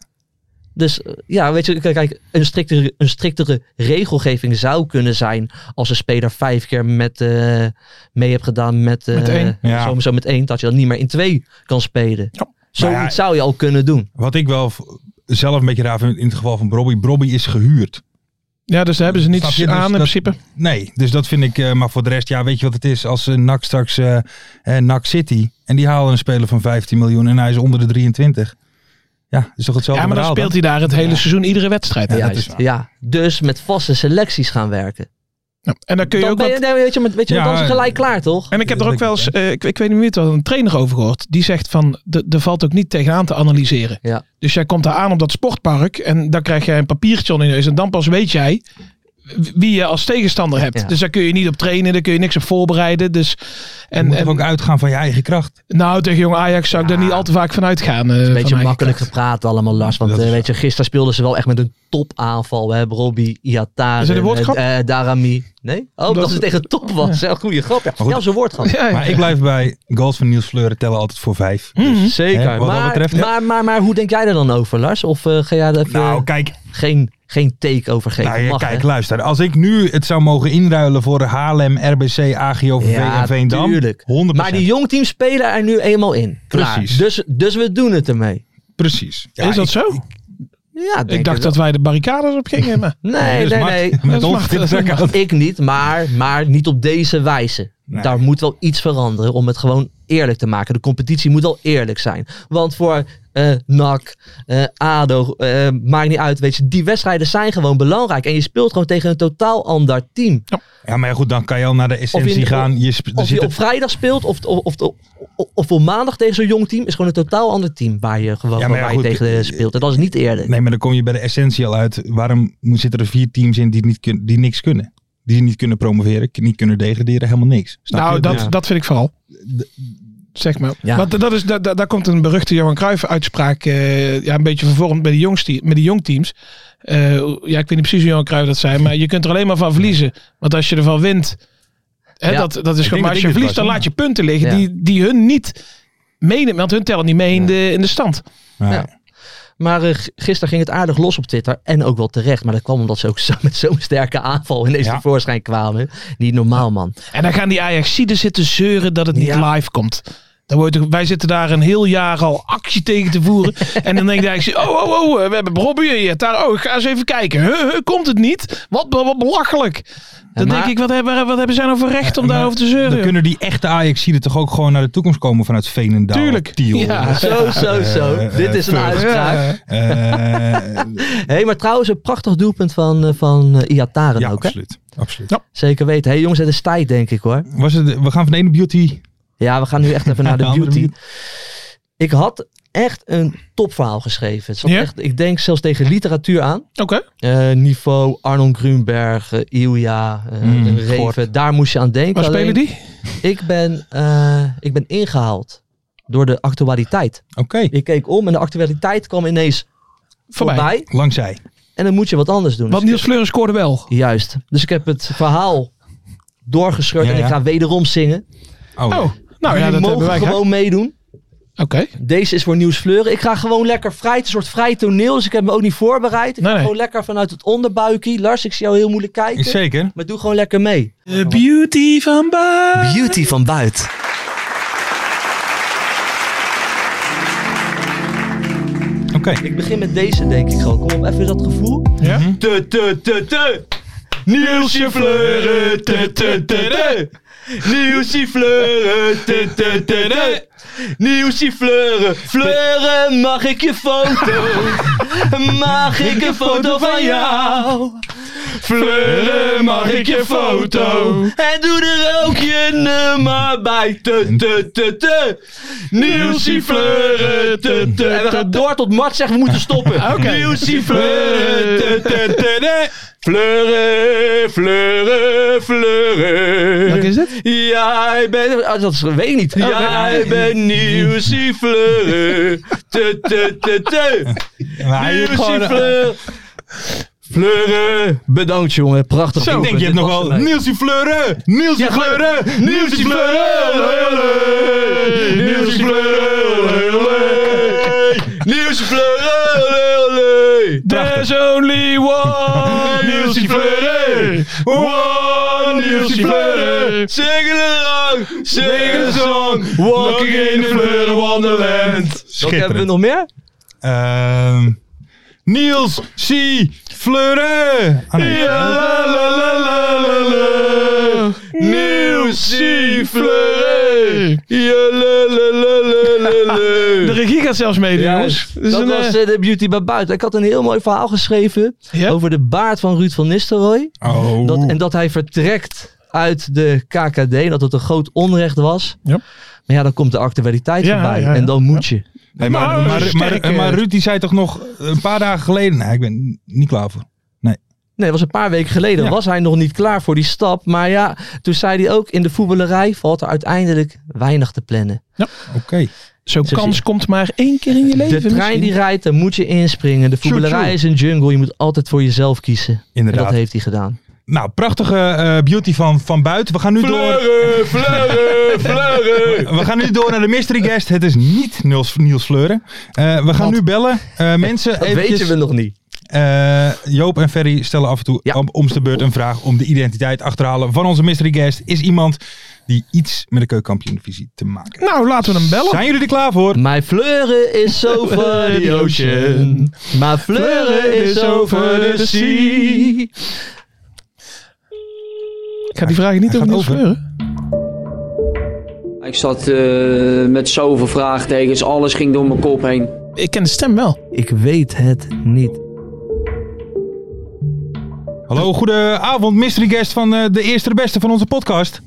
Speaker 4: Dus eh, ja, weet je, k- kijk, een striktere, een striktere regelgeving zou kunnen zijn als een speler vijf keer met, eh, mee hebt gedaan met, eh
Speaker 5: Met één.
Speaker 3: Ja.
Speaker 4: zo- zo met één, dat je dan niet meer in twee kan spelen. Zoiets
Speaker 3: Maar ja,
Speaker 4: zou je al kunnen doen.
Speaker 3: Wat ik wel v- zelf een beetje raar vind in het geval van Bobby. Bobby is gehuurd.
Speaker 5: Ja, dus daar hebben ze
Speaker 3: Snap
Speaker 5: niets
Speaker 3: je? Dus
Speaker 5: aan in
Speaker 3: dat-
Speaker 5: principe.
Speaker 3: Nee, dus dat vind ik. eh, maar voor de rest, ja, weet je wat het is? Als eh, NAC straks eh eh, NAC City. En die halen een speler van 15 miljoen en hij is onder de 23. Ja, is toch hetzelfde
Speaker 5: Ja, maar dan
Speaker 3: verhaal
Speaker 5: speelt hij daar het hele seizoen iedere wedstrijd.
Speaker 3: Ja, dat
Speaker 4: Juist,
Speaker 3: is waar.
Speaker 4: ja. Dus met vaste selecties gaan werken.
Speaker 5: Ja. Nou, En dan kun je
Speaker 4: Dan
Speaker 5: ook
Speaker 4: ben
Speaker 5: wat-
Speaker 4: je, nee, weet je, maar- weet je
Speaker 3: Ja,
Speaker 4: dan is het gelijk klaar, toch?
Speaker 5: En ik heb er
Speaker 3: Dat
Speaker 5: ook
Speaker 3: denk
Speaker 5: wel
Speaker 3: ik,
Speaker 5: eens, eh, ik, ik weet niet meer het was, een trainer over gehoord. Die zegt van, de- er valt ook niet tegenaan te analyseren.
Speaker 4: Ja.
Speaker 5: Dus jij komt daar aan op dat sportpark en dan krijg jij een papiertje onder je neus. En dan pas weet jij wie je als tegenstander hebt.
Speaker 4: Ja.
Speaker 5: Dus daar kun je niet op trainen, daar kun je niks op voorbereiden. Dus,
Speaker 3: En,
Speaker 5: en, en-
Speaker 3: ook uitgaan van je eigen kracht.
Speaker 5: nou, tegen jong Ajax zou ik daar niet al te vaak van uitgaan. eh,
Speaker 4: Een
Speaker 5: van
Speaker 4: beetje
Speaker 5: mijn
Speaker 4: makkelijk
Speaker 5: kant.
Speaker 4: gepraat allemaal, Lars. Want
Speaker 3: Dat
Speaker 4: eh,
Speaker 3: is
Speaker 4: weet je, gisteren speelden ze wel echt met een topaanval. We hebben Robbie, Iatare,
Speaker 5: Is het een woordgrap?
Speaker 4: eh, eh, Darami. Nee? Oh, dat,
Speaker 5: Dat-
Speaker 4: het tegen top was. Ja. een goede grap. Ja,
Speaker 3: goed.
Speaker 4: ja zo'n woordgrap.
Speaker 5: Ja, ja.
Speaker 3: Maar ik blijf bij goals van Niels Fleuren tellen altijd voor vijf. Dus,
Speaker 5: Mhm.
Speaker 4: Zeker.
Speaker 3: Hè, wat dat
Speaker 4: maar,
Speaker 3: betreft, ja.
Speaker 4: maar, maar, maar, hoe denk jij er dan over, Lars? Of eh, ga jij er even
Speaker 3: Nou, kijk,
Speaker 4: geen, geen take over geven?
Speaker 3: nou, ja,
Speaker 4: Mag,
Speaker 3: kijk
Speaker 4: hè?
Speaker 3: luister. Als ik nu het zou mogen inruilen voor Haarlem, RBC, AGOVV en Veendam.
Speaker 4: tuurlijk.
Speaker 3: 100%.
Speaker 4: Maar die jongteams spelen er nu eenmaal in. Klaar.
Speaker 3: Precies.
Speaker 4: Dus, dus we doen het ermee.
Speaker 3: Precies. Ja,
Speaker 5: is dat
Speaker 3: ik-
Speaker 5: zo?
Speaker 4: Ja,
Speaker 5: ik dacht dat wij de barricades op gingen. Maar
Speaker 4: Nee,
Speaker 3: dus
Speaker 4: nee,
Speaker 3: Mart-
Speaker 4: nee.
Speaker 3: Met
Speaker 5: Dat
Speaker 3: ons
Speaker 5: mag-
Speaker 3: dit
Speaker 5: dat
Speaker 3: is ook
Speaker 5: mag.
Speaker 3: altijd-
Speaker 4: Ik niet, maar, maar niet op deze wijze.
Speaker 3: Nee.
Speaker 4: Daar moet wel iets veranderen om het gewoon eerlijk te maken. De competitie moet wel eerlijk zijn. Want voor eh NAC, eh, ADO, eh, maakt niet uit. Weet je, die wedstrijden zijn gewoon belangrijk. En je speelt gewoon tegen een totaal ander team.
Speaker 3: Ja, maar ja, goed, dan kan je al naar de essentie
Speaker 4: Of in-
Speaker 3: gaan. Je, sp- er
Speaker 4: Of
Speaker 3: zit
Speaker 4: je
Speaker 3: een-
Speaker 4: op vrijdag speelt of, of, of, of, of op maandag tegen zo'n jong team. Is gewoon een totaal ander team waar je gewoon
Speaker 3: Ja, maar ja,
Speaker 4: waar je
Speaker 3: goed,
Speaker 4: tegen eh, speelt. En dat is niet eerlijk.
Speaker 3: Nee, maar dan kom je bij de essentie al uit. Waarom mo- zitten er vier teams in die, niet kun- die niks kunnen? Die niet kunnen promoveren, k- niet kunnen degraderen, helemaal niks. Snap
Speaker 5: Nou,
Speaker 3: je?
Speaker 5: dat,
Speaker 3: Dus-
Speaker 5: dat vind ik vooral. Zeg maar.
Speaker 4: Ja.
Speaker 5: Want dat is, da- da- daar komt een beruchte Johan Cruijff uitspraak eh, ja, een beetje vervormd bij de, jongste, met de jongteams. Eh, ja, ik weet niet precies hoe Johan Cruijff dat zei, maar je kunt er alleen maar van verliezen. Want als je ervan wint, hè,
Speaker 4: Ja.
Speaker 5: dat, dat is gewoon,
Speaker 3: denk
Speaker 5: maar
Speaker 3: dat
Speaker 5: als
Speaker 3: ik
Speaker 5: je
Speaker 3: het
Speaker 5: verliest,
Speaker 3: was,
Speaker 5: dan
Speaker 3: hoor.
Speaker 5: laat je punten liggen
Speaker 4: Ja.
Speaker 5: die, die hun niet meenemen. Want hun tellen niet mee in, de, in de stand.
Speaker 3: Ja.
Speaker 4: Ja. Maar eh, g- gisteren ging het aardig los op Twitter. En ook wel terecht. Maar dat kwam omdat ze ook zo, met zo'n sterke aanval ineens
Speaker 3: Ja.
Speaker 4: tevoorschijn kwamen. Niet normaal, man.
Speaker 5: En dan gaan die Ajaxiden zitten zeuren dat het niet
Speaker 4: Ja.
Speaker 5: live komt. Dan wordt er- wij zitten daar een heel jaar al actie tegen te voeren. en dan denkt hij, oh, oh, oh, eh, we hebben Robbie hier. Daar, oh, ik ga eens even kijken. Huh, huh, komt het niet? Wat, be- wat belachelijk. Dan
Speaker 4: maar-
Speaker 5: denk ik, wat hebben, wat hebben zij nou voor recht om
Speaker 3: Maar
Speaker 5: daarover te
Speaker 3: Dan
Speaker 5: zeuren?
Speaker 3: kunnen die echte Ajaxiden toch ook gewoon naar de toekomst komen vanuit Veenendaal.
Speaker 5: Tuurlijk.
Speaker 3: Tiel.
Speaker 5: Ja.
Speaker 4: Zo, zo, zo.
Speaker 3: Eh, eh,
Speaker 4: Dit is een
Speaker 3: Furk.
Speaker 4: uitspraak.
Speaker 5: Ja.
Speaker 3: Eh,
Speaker 4: Hé, hey, maar trouwens een prachtig doelpunt van, eh, van eh, Iataren
Speaker 3: ja,
Speaker 4: ook, hè?
Speaker 3: absoluut. absoluut.
Speaker 4: Zeker weten. Hé hey, jongens, het is tijd, denk ik, hoor.
Speaker 3: Was het, we gaan van de ene beauty.
Speaker 4: Ja, we gaan nu echt even naar de
Speaker 3: Andere
Speaker 4: beauty.
Speaker 3: beauty.
Speaker 4: Ik had echt een topverhaal geschreven. Het zat
Speaker 5: Ja?
Speaker 4: echt, ik denk zelfs tegen literatuur aan.
Speaker 5: Oké.
Speaker 4: Eh, niveau Arnon Grunberg, eh, Ilja, eh,
Speaker 3: Mm,
Speaker 4: Reven.
Speaker 3: Gort.
Speaker 4: Daar moest je aan denken.
Speaker 5: Waar
Speaker 4: Alleen-
Speaker 5: spelen die?
Speaker 4: Ik ben, eh, ik ben ingehaald door de actualiteit.
Speaker 3: Oké,
Speaker 4: Ik keek om en de actualiteit kwam ineens voorbij.
Speaker 5: Voorbij.
Speaker 3: langs zij.
Speaker 4: En dan moet je wat anders doen.
Speaker 5: Want
Speaker 4: Dus
Speaker 5: Niels Fleuren scoorde wel.
Speaker 4: ik- Juist. Dus ik heb het verhaal doorgescheurd
Speaker 3: Ja,
Speaker 4: en ik
Speaker 3: ja.
Speaker 4: ga wederom zingen.
Speaker 3: Oh,
Speaker 5: Oh, nou ja,
Speaker 4: Jullie
Speaker 5: dat hebben
Speaker 4: mogen
Speaker 5: wij gehad.
Speaker 4: gewoon meedoen.
Speaker 5: Oké.
Speaker 4: Deze is voor Nieuws Fleuren. Ik ga gewoon lekker vrij. Het is een soort vrij toneel, dus ik heb me ook niet voorbereid. Ik
Speaker 5: Nee,
Speaker 4: ga
Speaker 5: nee.
Speaker 4: gewoon lekker vanuit het onderbuikje. Lars, ik zie jou heel moeilijk kijken.
Speaker 3: zeker.
Speaker 4: Maar doe gewoon lekker mee.
Speaker 5: De beauty van Baar.
Speaker 4: Beauty van buiten.
Speaker 3: Oké.
Speaker 4: Ik begin met deze, denk ik gewoon. Kom op, even dat gevoel.
Speaker 5: Ja.
Speaker 4: Te, te, te, te. Nieuwsje fleuren, te, te, te, te. Nieuwsje fleuren, te, te, te, te. Nieuwsje fleuren, fleuren, mag ik je foto? Mag ik een foto van jou? Flirren, mag ik je foto? En doe er ook je nummer bij. Te, te, te, te. Nielsie Fleuren. Te, te, En we gaan door tot Mart zegt we moeten stoppen. Nielsie Fleuren. Te, te, te, te. Fleuren, Fleuren, Fleuren.
Speaker 5: Welke is het?
Speaker 4: Jij bent... ah, dat is, weet ik niet. Jij bent Nielsie Fleuren. Te, te, te, te.
Speaker 3: Maar hij heeft gewoon-
Speaker 4: Nielsie Fleur. Fleuren, bedankt jongen, prachtig.
Speaker 3: Ik denk je hebt nog wel... Nielsie Fleuren! Nielsie Fleuren! Nielsie Fleuren! Nielsie Fleuren!
Speaker 4: Nieuwsje Fleuren,
Speaker 3: There's
Speaker 4: only one.
Speaker 3: Nielsie Fleuren! One Nielsie Fleuren!
Speaker 4: Zing er lang,
Speaker 3: Sing a song, walking in the Fleuren wonderland.
Speaker 4: Wat hebben we nog meer?
Speaker 3: Ehm, Niels C. Fleuren. Ah, nee.
Speaker 4: Nieuwsje Fleuren. Ja, la, la, la, la, la, la.
Speaker 5: De regie gaat zelfs meedoen,
Speaker 4: Ja,
Speaker 5: jongens. Dus
Speaker 4: dat
Speaker 5: een,
Speaker 4: was
Speaker 5: eh,
Speaker 4: eh, de beauty bij buiten. Ik had een heel mooi verhaal geschreven
Speaker 5: Ja?
Speaker 4: over de baard van Ruud van Nistelrooy.
Speaker 3: Oh.
Speaker 4: Dat, en dat hij vertrekt uit de KKD. En dat het een groot onrecht was.
Speaker 5: Ja.
Speaker 4: Maar ja, dan komt de actualiteit
Speaker 5: Ja,
Speaker 4: voorbij.
Speaker 5: ja, ja.
Speaker 4: En dan moet je.
Speaker 3: Nee, maar,
Speaker 5: Nou,
Speaker 3: maar, maar,
Speaker 5: sterk,
Speaker 3: maar,
Speaker 5: eh.
Speaker 3: maar Ruud die zei toch nog een paar dagen geleden... Nee, ik ben niet klaar voor.
Speaker 4: Nee, dat was een paar weken geleden.
Speaker 3: Ja.
Speaker 4: Was hij nog niet klaar voor die stap. Maar ja, toen zei hij ook. In de voetballerij valt er uiteindelijk weinig te plannen.
Speaker 3: Oké.
Speaker 5: Zo'n
Speaker 4: Zo
Speaker 5: kans
Speaker 4: zie-
Speaker 5: komt maar één keer in je leven.
Speaker 4: De trein
Speaker 5: misschien.
Speaker 4: die rijdt, daar moet je inspringen. De voetballerij
Speaker 3: Tjoe,
Speaker 4: is een jungle. Je moet altijd voor jezelf kiezen. En
Speaker 3: Inderdaad.
Speaker 4: dat heeft hij gedaan.
Speaker 3: Nou, prachtige eh, beauty van, van buiten. We gaan nu door...
Speaker 4: fleuren, fleuren.
Speaker 3: We gaan nu door naar de mystery guest. Het is niet Niels, Niels Fleuren. Eh, we gaan nu bellen. Eh, mensen,
Speaker 4: Dat
Speaker 3: eventjes-
Speaker 4: weten we nog niet.
Speaker 3: Eh, Joop en Ferry stellen af en toe
Speaker 4: Ja.
Speaker 3: om, om de beurt een vraag om de identiteit achterhalen van onze mystery guest. Is iemand die iets met de keukenkampioenvisie te maken heeft.
Speaker 5: Nou, laten we hem bellen.
Speaker 3: Zijn jullie er klaar voor?
Speaker 4: My fleuren is over the ocean. My fleuren is over the sea.
Speaker 5: Ik ga die vragen niet
Speaker 3: Hij
Speaker 5: over
Speaker 3: gaat
Speaker 5: Niels
Speaker 3: over.
Speaker 5: Fleuren.
Speaker 6: Ik zat eh, met zoveel vraagtekens, alles ging door mijn kop heen.
Speaker 5: Ik ken de stem wel.
Speaker 4: Ik weet het niet.
Speaker 3: Hallo, goedenavond mystery guest van eh, de eerste de beste van onze podcast.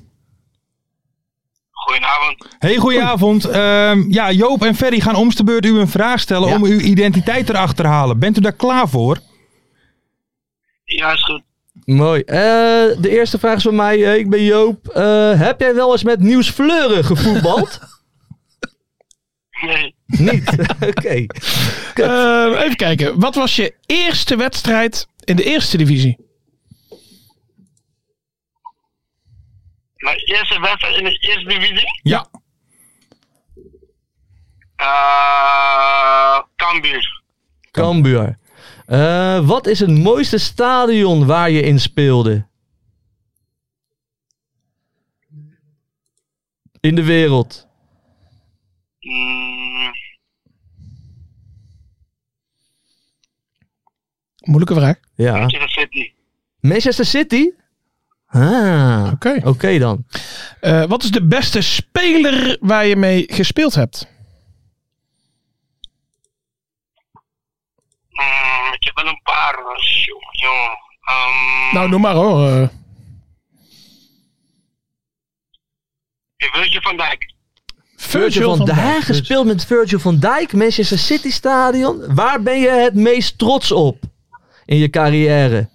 Speaker 7: Goedenavond.
Speaker 3: Hey, goedenavond. Ehm, ja, Joop en Ferry gaan om de beurt u een vraag stellen om uw identiteit erachter te halen. Bent u daar klaar voor?
Speaker 7: Ja, is goed.
Speaker 4: Mooi. Eh, de eerste vraag is van mij. Eh, Ik ben Joop. Eh, heb jij wel eens met Nieuws Fleuren gevoetbald?
Speaker 7: Nee,
Speaker 4: niet. Oké.
Speaker 5: Eh, even kijken. Wat was je eerste wedstrijd in de eerste divisie?
Speaker 7: mijn eerste wedstrijd in de eerste divisie?
Speaker 3: Ja.
Speaker 7: eh Cambuur.
Speaker 4: Cambuur. Eh, wat is het mooiste stadion waar je in speelde? In de wereld.
Speaker 7: Mm,
Speaker 5: Moeilijke vraag.
Speaker 4: Ja.
Speaker 7: Manchester City.
Speaker 4: Manchester City? Ah,
Speaker 5: Oké.
Speaker 4: oké dan.
Speaker 5: Eh, wat is de beste speler waar je mee gespeeld hebt?
Speaker 7: Mm, ik heb wel een paar. maar Jongen, jongen. Ehm,
Speaker 5: Nou, noem maar hoor. eh.
Speaker 7: Virgil van Dijk.
Speaker 4: Virgil van,
Speaker 5: dus.
Speaker 4: Dijk, dus- gespeeld met Virgil van Dijk, Manchester City Stadion. Waar ben je het meest trots op in je carrière?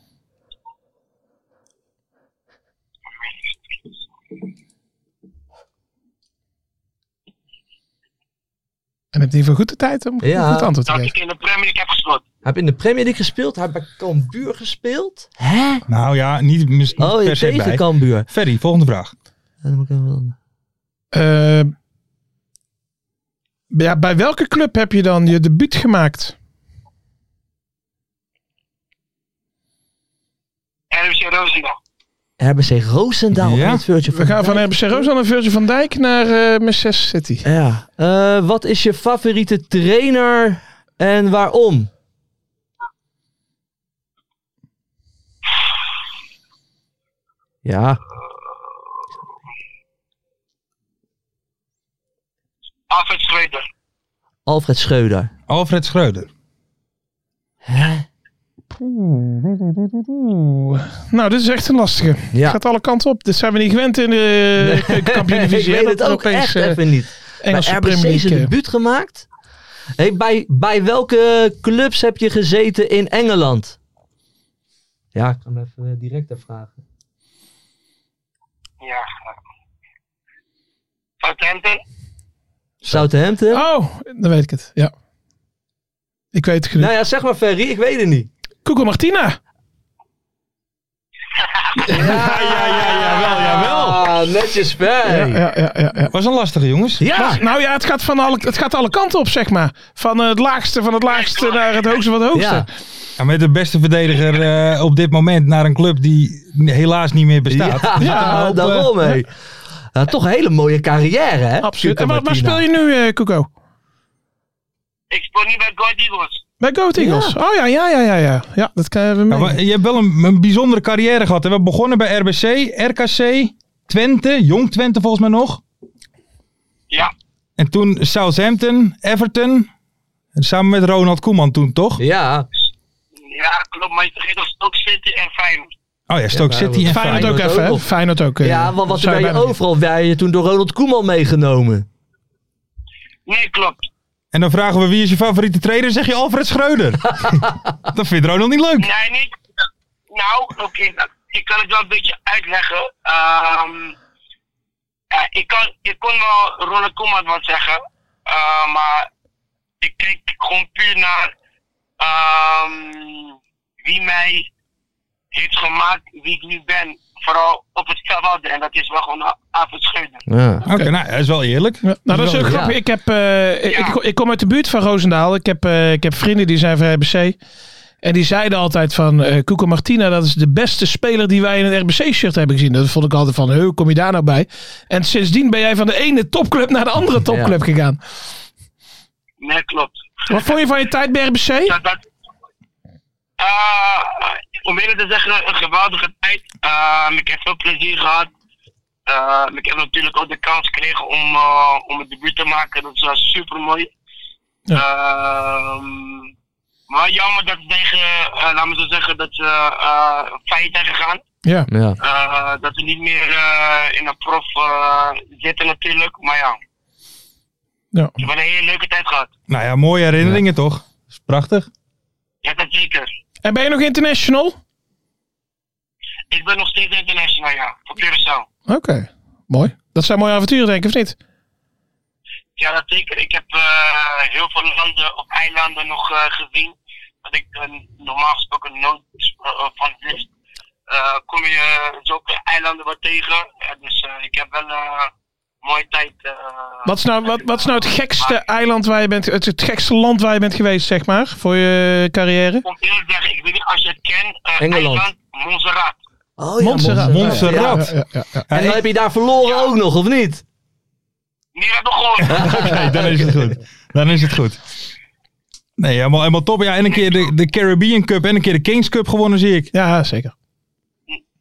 Speaker 5: En heb je voor goed de tijd om
Speaker 4: Ja.
Speaker 5: een goed antwoord te
Speaker 7: Dat ik
Speaker 5: geven?
Speaker 7: in de Premier League heb gescoord.
Speaker 4: Heb je in de Premier League gespeeld? Heb je bij Cambuur gespeeld? Hè?
Speaker 3: Nou ja, niet, mis- niet
Speaker 4: Oh, je
Speaker 3: per se
Speaker 4: tegen
Speaker 3: bij.
Speaker 4: Cambuur.
Speaker 3: Ferry, volgende vraag.
Speaker 4: Ja, dan moet ik even-
Speaker 5: Eh, ja, bij welke club heb je dan je debuut gemaakt?
Speaker 7: RFC Roosendaal.
Speaker 4: RBC Roosendaal
Speaker 3: Ja.
Speaker 4: met Virgil van
Speaker 5: We gaan van
Speaker 4: Dijk.
Speaker 5: RBC Roosdaal naar Virgil van Dijk naar eh Manchester City.
Speaker 4: Ja. Eh, wat is je favoriete trainer en waarom? Ja.
Speaker 7: Alfred Schreuder.
Speaker 4: Alfred Scheuder.
Speaker 3: Alfred Schreuder.
Speaker 4: Hè?
Speaker 8: Nou, dit is echt een lastige.
Speaker 4: Ja.
Speaker 8: Gaat alle kanten op. Dit zijn we niet gewend in de
Speaker 4: ik
Speaker 8: keukenkampioen-divisie.
Speaker 4: weet
Speaker 8: hè,
Speaker 4: het
Speaker 8: dat er
Speaker 4: ook echt
Speaker 8: eh,
Speaker 4: even niet.
Speaker 8: Engelse
Speaker 4: bij RBC
Speaker 8: Premier
Speaker 4: is
Speaker 8: League,
Speaker 4: een
Speaker 8: eh,
Speaker 4: debuut gemaakt. Hey, bij, bij welke clubs heb je gezeten in Engeland? Ja, ik kan hem even eh, direct daar vragen.
Speaker 5: Ja. Southampton?
Speaker 4: Southampton?
Speaker 8: Oh, dan weet ik het. Ja. Ik weet het genoeg.
Speaker 4: nou ja, zeg maar Ferry, ik weet het niet.
Speaker 8: Cuco Martina.
Speaker 4: Ja, ja, ja, jawel, jawel. Ah, netjes Ferry.
Speaker 8: Ja, eh, ja, ja, ja.
Speaker 3: Was een lastige, jongens.
Speaker 4: Ja.
Speaker 8: Maar, nou ja, het gaat, van alle, het gaat alle kanten op, zeg maar. Van eh, het laagste van het laagste naar het hoogste van het hoogste.
Speaker 4: Ja.
Speaker 3: Ja, met de beste verdediger eh, op dit moment naar een club die helaas niet meer bestaat.
Speaker 4: Ja,
Speaker 3: maar op,
Speaker 8: eh,
Speaker 4: daarom hé. Ja, toch een hele mooie carrière, hè?
Speaker 8: Absoluut. En
Speaker 4: Cuco
Speaker 8: waar, waar
Speaker 4: Martina.
Speaker 8: speel je nu, eh Cuco?
Speaker 5: Ik speel niet bij God Eagles.
Speaker 8: Bij Go Ahead Eagles. Oh ja, ja, ja, ja, ja. Ja, dat eh, kan je
Speaker 3: Ja,
Speaker 4: eh,
Speaker 3: maar je hebt wel een, een bijzondere carrière gehad. Hè? We begonnen bij RBC, RKC, Twente, Jong Twente volgens mij nog.
Speaker 5: Ja.
Speaker 3: En toen Southampton, Everton. En Samen met Ronald Koeman toen, toch?
Speaker 4: Ja,
Speaker 5: Ja, klopt. Maar je vergeet ook Stoke City en Feyenoord.
Speaker 3: Oh ja, Stoke
Speaker 4: Ja,
Speaker 3: City
Speaker 4: maar-
Speaker 3: en
Speaker 8: Feyenoord
Speaker 3: Feyenoord.
Speaker 8: ook
Speaker 4: Feyenoord
Speaker 8: even, hè?
Speaker 4: ook.
Speaker 8: Feyenoord ook. eh,
Speaker 4: ja want wat
Speaker 8: zou
Speaker 4: ben je
Speaker 8: bijna-
Speaker 4: overal? Wij je toen door Ronald Koeman meegenomen.
Speaker 5: Nee, klopt.
Speaker 3: En dan vragen we wie is je favoriete trainer? Zeg je Alfred Schreuder. dat vindt Ronald niet leuk.
Speaker 5: Nee, niet. Nou, oké. nou, ik kan het wel een beetje uitleggen. Ehm, ja, ik, kan, ik kon wel Ronald Koeman wat zeggen. eh, maar ik kijk gewoon puur naar ehm, wie mij heeft gemaakt wie ik nu ben. Vooral op het veld. En dat is wel gewoon avondscheunen.
Speaker 4: Ja.
Speaker 3: Oké, nou, dat is wel eerlijk.
Speaker 8: Ja, nou, dat is
Speaker 3: wel
Speaker 8: ook
Speaker 4: Ja.
Speaker 8: grappig. Ik, heb, eh, ik-
Speaker 5: Ja.
Speaker 8: ik, ik kom uit de buurt van Roosendaal. Ik heb, eh, ik heb vrienden die zijn van RBC. En die zeiden altijd van eh Cuco Martina, dat is de beste speler die wij in een RBC-shirt hebben gezien. Dat vond ik altijd van, hoe kom je daar nou bij? En sindsdien ben jij van de ene topclub naar de andere topclub gegaan.
Speaker 5: Nee, klopt.
Speaker 8: Wat vond je van je tijd bij RBC?
Speaker 5: dat, dat, Ah, om eerlijk te zeggen, een geweldige tijd. Ehm, ik heb veel plezier gehad. Ehm, ik heb natuurlijk ook de kans gekregen om, eh, om het debuut te maken. Dat was Ehm, super mooi. maar jammer dat ze tegen, eh, laat me zo zeggen, dat ze eh feit zijn gegaan.
Speaker 8: Ja.
Speaker 4: Ja.
Speaker 5: Eh, dat ze niet meer eh, in de prof eh, zitten natuurlijk. Maar ja,
Speaker 8: ja.
Speaker 5: we hebben een hele leuke tijd gehad.
Speaker 3: Nou ja, mooie herinneringen toch? is prachtig.
Speaker 5: Ja, dat zeker.
Speaker 8: En ben je nog international?
Speaker 5: Ik ben nog steeds international, ja. Voor Curaçao.
Speaker 8: Oké, mooi. Dat zijn mooie avonturen, denk ik, of niet?
Speaker 5: Ja, dat zeker. Ik heb eh, heel veel landen op eilanden nog eh, gezien. Wat ik eh, normaal gesproken nooit eh, van wist. Eh, kom je zulke eilanden wat tegen. Ja, dus eh, ik heb wel eh, een mooie tijd. eh,
Speaker 8: Wat is nou, wat, wat is nou het gekste eiland waar je bent, het, het gekste land waar je bent geweest, zeg maar, voor je carrière?
Speaker 5: Om eerlijk te zeggen, ik weet niet als je het kent. eh,
Speaker 4: Engeland.
Speaker 5: Eiland Montserrat.
Speaker 4: Oh, ja,
Speaker 8: Montserrat.
Speaker 3: Montserrat.
Speaker 8: Ja, ja, ja, ja.
Speaker 4: En dan heb je daar verloren ook nog, of niet?
Speaker 5: Nee, dat begon.
Speaker 3: Oké, dan is het goed. Dan is het goed. Nee, helemaal, helemaal top. Ja, en een keer de, de Caribbean Cup en een keer de Kings Cup gewonnen, zie ik.
Speaker 8: Ja, zeker.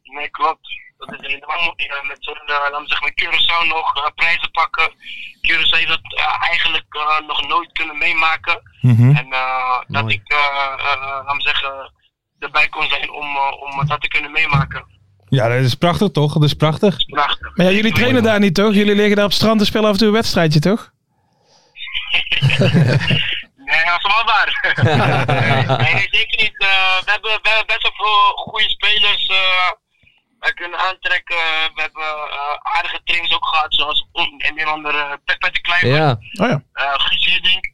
Speaker 5: Nee, klopt. Dat is helemaal mooi. eh, Met zo'n, eh, laten we zeggen, met Curaçao nog eh, prijzen pakken. Curaçao heeft dat eh, eigenlijk eh, nog nooit kunnen meemaken.
Speaker 8: Mhm.
Speaker 5: En eh, dat
Speaker 4: Mooi.
Speaker 5: ik, eh eh, laten we zeggen, erbij kon zijn om, eh, om dat te kunnen meemaken.
Speaker 3: Ja, dat is prachtig toch? Dat is prachtig.
Speaker 5: Prachtig.
Speaker 8: Maar ja, jullie trainen daar niet, toch? Jullie liggen daar op het strand en spelen af en toe een wedstrijdje, toch?
Speaker 5: Nee, dat is wel waar. nee, nee, zeker niet. Eh, we, hebben, we hebben best wel veel goede spelers eh, eh, kunnen aantrekken. We hebben eh, aardige trainers ook gehad, zoals on- en andere Peppe de Klein.
Speaker 4: Ja.
Speaker 8: Oh ja.
Speaker 5: eh Guus Hiddink.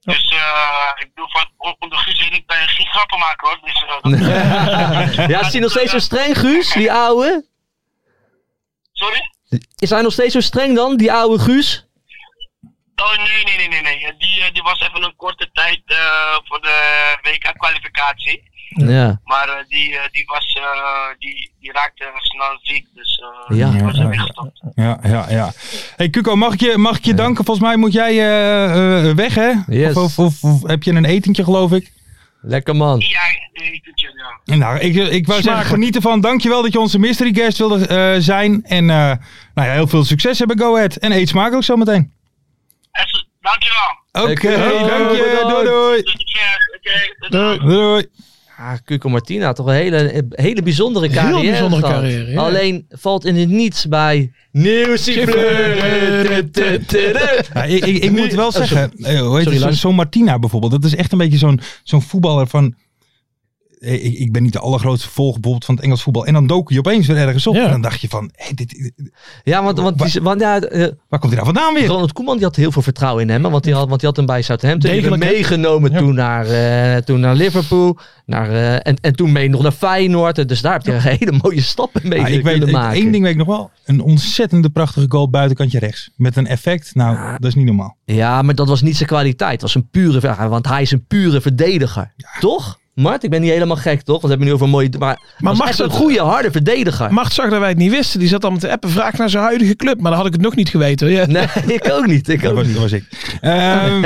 Speaker 5: Dus eh, ik bedoel, van, on- onder Guus Hiddink ben je geen grappen maken hoor. Dus, eh, dat-
Speaker 4: ja, is hij nog steeds zo streng, Guus, die ouwe?
Speaker 5: Sorry?
Speaker 4: Is hij nog steeds zo streng dan, die ouwe Guus?
Speaker 5: Oh nee, nee, nee, nee. nee. Die, eh, die was even een korte tijd eh, voor de WK-kwalificatie.
Speaker 4: Ja.
Speaker 5: Maar eh, die, eh, die, was, eh, die, die raakte snel ziek. Dus eh,
Speaker 4: Ja.
Speaker 5: die was ermee gestopt.
Speaker 3: Ja, ja, ja. hey, Cuco, mag ik je, mag ik je danken? Volgens mij moet jij eh, eh, weg, hè?
Speaker 4: Yes.
Speaker 3: Of, of, of- of heb je een etentje, geloof ik?
Speaker 4: Lekker man.
Speaker 5: Ja, eh, ik vind je, ja.
Speaker 3: Nou, ik, ik wou zeggen,
Speaker 8: Smakelijk.
Speaker 3: geniet ervan. Dankjewel dat je onze mystery guest wilde eh, zijn. En eh, nou ja, heel veel succes hebben, Go Ahead. En eet smakelijk zometeen.
Speaker 5: En zo- Dankjewel.
Speaker 3: Oké,
Speaker 4: Oké,
Speaker 3: dank je. Doei, doei.
Speaker 5: Tot de keer. Oké. tot de-
Speaker 3: Doei.
Speaker 4: ja, Ah, Cuco Martina, toch een hele, eh, hele bijzondere
Speaker 5: Heel
Speaker 4: carrière.
Speaker 5: bijzondere
Speaker 4: gehad.
Speaker 5: carrière, ja.
Speaker 4: Alleen valt in het niets bij. Nieuw
Speaker 3: Ja, ik, ik, ik moet wel
Speaker 4: Oh, sorry.
Speaker 3: zeggen, eh, hoe heet
Speaker 4: Sorry,
Speaker 3: het, zo-
Speaker 4: Lars.
Speaker 3: zo'n Martina bijvoorbeeld, dat is echt een beetje zo'n zo'n voetballer van... eh, Ik, ik ben niet de allergrootste volger bijvoorbeeld van het Engels voetbal. En dan dook je opeens weer ergens op.
Speaker 5: Ja.
Speaker 3: En dan dacht je van, hé, dit,
Speaker 4: Ja, want, want, die, want ja, eh,
Speaker 3: waar komt hij nou vandaan weer?
Speaker 4: Ronald Koeman die had heel veel vertrouwen in hem. hè, Want die had, want die had hem bij Southampton die hebben hem
Speaker 5: Degelijk,
Speaker 4: meegenomen
Speaker 5: Ja.
Speaker 4: toen, naar, eh, toen naar Liverpool. Naar, eh, en, en toen mee nog naar Feyenoord. Dus daar heb je een hele mooie stappen mee
Speaker 3: Ja, ik weet
Speaker 4: kunnen maken.
Speaker 3: één ding weet ik nog wel. Een ontzettende prachtige goal buitenkantje rechts. Met een effect, nou, dat is niet normaal.
Speaker 4: Ja, maar dat was niet zijn kwaliteit. Dat was een pure, ver- ah, want hij is een pure verdediger. Toch? Mart, ik ben niet helemaal gek, toch? Want we hebben nu over mooie... Maar, maar
Speaker 5: mag
Speaker 4: echt
Speaker 5: dat-
Speaker 4: een goede, harde verdediger.
Speaker 5: Macht zag dat wij het niet wisten. Die zat dan met de appen vraag naar zijn huidige club. Maar dan had ik het nog niet geweten. Ja.
Speaker 4: Nee, ik ook niet. Ik
Speaker 3: Dat
Speaker 4: ook
Speaker 3: was, dat
Speaker 4: niet.
Speaker 3: was ik. Ehm,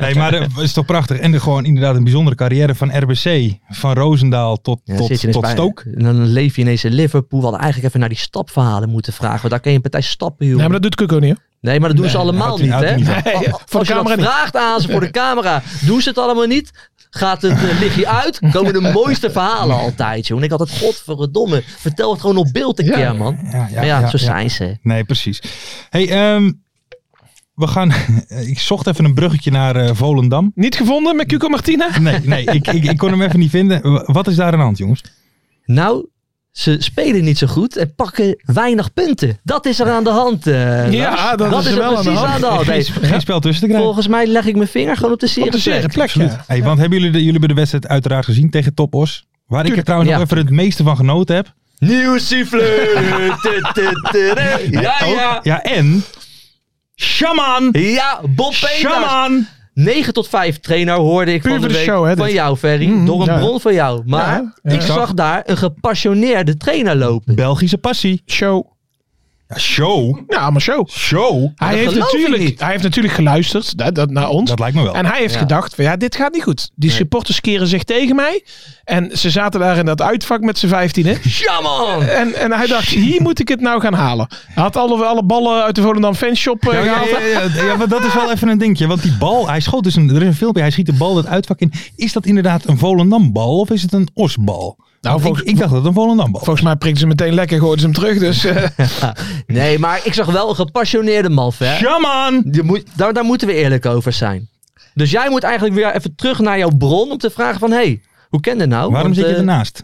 Speaker 3: nee, maar dat is toch prachtig. En gewoon inderdaad een bijzondere carrière van RBC. Van Roosendaal tot,
Speaker 4: Ja,
Speaker 3: tot,
Speaker 4: zit je dus ineens
Speaker 3: tot
Speaker 4: bij-
Speaker 3: Stoke.
Speaker 4: En dan leef je ineens in Liverpool. We hadden eigenlijk even naar die stapverhalen moeten vragen. Want daar kan je een partij stappen, joh.
Speaker 5: Nee, maar dat doet Cuco niet. hoor.
Speaker 4: Nee, maar dat doen ze allemaal
Speaker 3: houdt hij-
Speaker 4: niet,
Speaker 3: houdt
Speaker 4: hè?
Speaker 3: hij niet van.
Speaker 5: Nee,
Speaker 4: Al-
Speaker 5: ja,
Speaker 4: als
Speaker 5: voor de
Speaker 4: je dat
Speaker 5: camera niet.
Speaker 4: vraagt aan ze voor de camera, doen ze het allemaal niet? Gaat het eh, lichtje uit? Komen de mooiste verhalen altijd, joh. En ik had het godverdomme. Vertel het gewoon op beeld een
Speaker 5: Ja.
Speaker 4: keer, man. Maar
Speaker 3: Ja, ja,
Speaker 4: Ja,
Speaker 3: ja,
Speaker 4: zo
Speaker 3: ja.
Speaker 4: zijn ze.
Speaker 3: Nee, precies. Hey, ehm, we gaan. ik zocht even een bruggetje naar eh, Volendam.
Speaker 5: Niet gevonden met Cuco Martina?
Speaker 3: Nee, nee ik, ik, ik kon hem even niet vinden. Wa- Wat is daar aan de hand, jongens?
Speaker 4: Nou, ze spelen niet zo goed en pakken weinig punten. Dat is er aan de hand. eh,
Speaker 5: Ja,
Speaker 4: Lars.
Speaker 5: dat is
Speaker 4: er
Speaker 5: wel aan de
Speaker 4: precies
Speaker 5: hand.
Speaker 4: aan de hand.
Speaker 3: Geen,
Speaker 4: Hey,
Speaker 3: sp- geen spel tussen te krijgen.
Speaker 4: volgens mij leg ik mijn vinger gewoon op de
Speaker 5: Op de zere
Speaker 4: zere plek.
Speaker 5: plek. Ja.
Speaker 3: Hey, want hebben jullie de, jullie hebben de wedstrijd uiteraard gezien tegen Top Os? Waar ik er trouwens
Speaker 4: Ja.
Speaker 3: nog even het meeste van genoten heb.
Speaker 4: Nieuw siffleur. Tu, tu, tu, tu. Ja,
Speaker 3: Ook-
Speaker 4: ja.
Speaker 3: ja en. Shaman!
Speaker 4: Ja, Bob Peters.
Speaker 3: Shaman!
Speaker 4: 9 tot 5 trainer hoorde ik
Speaker 5: Puur
Speaker 4: van de
Speaker 5: voor de
Speaker 4: week
Speaker 5: show, hè,
Speaker 4: van
Speaker 5: dit.
Speaker 4: jou, Ferry.
Speaker 5: Mhm,
Speaker 4: door een
Speaker 5: ja.
Speaker 4: bron van jou. Maar
Speaker 5: Ja, ja.
Speaker 4: ik zag daar een gepassioneerde trainer lopen.
Speaker 3: Belgische passie.
Speaker 5: Show.
Speaker 3: Ja, show.
Speaker 5: Ja, maar show.
Speaker 3: Show.
Speaker 5: Hij heeft,
Speaker 4: geloof ik
Speaker 5: natuurlijk,
Speaker 4: niet.
Speaker 5: hij heeft natuurlijk geluisterd dat, dat naar ons.
Speaker 3: Dat lijkt me wel.
Speaker 5: En hij heeft
Speaker 4: Ja.
Speaker 5: gedacht, van, ja, dit gaat niet goed. Die supporters keren zich tegen mij. En ze zaten daar in dat uitvak met z'n vijftienen.
Speaker 4: Ja, man!
Speaker 5: En, en hij dacht, hier moet ik het nou gaan halen. Hij had alle, alle ballen uit de Volendam fanshop eh,
Speaker 3: Ja, ja,
Speaker 5: gehaald.
Speaker 3: ja, ja, ja, maar dat is wel even een dingetje. Want die bal, hij schoot dus een, er is een filmpje, hij schiet de bal het uitvak in. Is dat inderdaad een Volendambal of is het een Osbal? Nou,
Speaker 5: volgens-
Speaker 3: ik, ik dacht dat het een Volendambal was.
Speaker 5: Volgens mij prikten ze meteen lekker en gooiden ze hem terug. Dus eh,
Speaker 4: Nee, maar ik zag wel een gepassioneerde man, Fer.
Speaker 3: Shaman!
Speaker 4: Je moet, daar, daar moeten we eerlijk over zijn. Dus jij moet eigenlijk weer even terug naar jouw bron om te vragen van... Hé, hey, hoe ken je nou?
Speaker 3: Waarom
Speaker 4: Want,
Speaker 3: zit je
Speaker 4: eh,
Speaker 3: ernaast?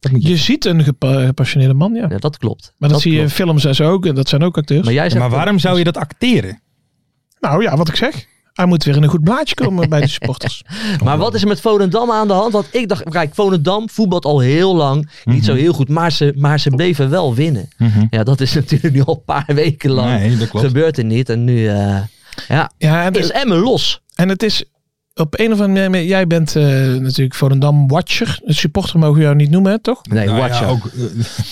Speaker 3: Dat moet je-
Speaker 5: je ziet een gepa- gepassioneerde man, ja.
Speaker 4: Ja, dat klopt.
Speaker 5: Maar dat, zie je in
Speaker 4: klopt.
Speaker 5: films en zo ook. En dat zijn ook acteurs.
Speaker 4: Maar jij zegt...
Speaker 3: maar waarom zou je dat acteren?
Speaker 5: Nou ja, wat ik zeg. Hij moet weer in een goed blaadje komen bij de supporters.
Speaker 4: Maar
Speaker 3: Oh.
Speaker 4: wat is er met Volendam aan de hand? Want ik dacht, kijk, Volendam voetbalt al heel lang. Niet
Speaker 3: Mhm.
Speaker 4: zo heel goed, maar ze, maar ze bleven wel winnen. Ja, dat is natuurlijk nu al een paar weken lang.
Speaker 3: Nee, dat klopt.
Speaker 4: Gebeurt er niet. En nu eh, ja,
Speaker 5: Ja, en,
Speaker 4: is Emmen los.
Speaker 5: en het is op een of andere manier... Jij bent eh, natuurlijk Volendam-watcher. Een supporter mogen we jou niet noemen, hè, toch?
Speaker 4: Nee,
Speaker 3: Nou ja,
Speaker 4: watch out.
Speaker 3: ook, eh,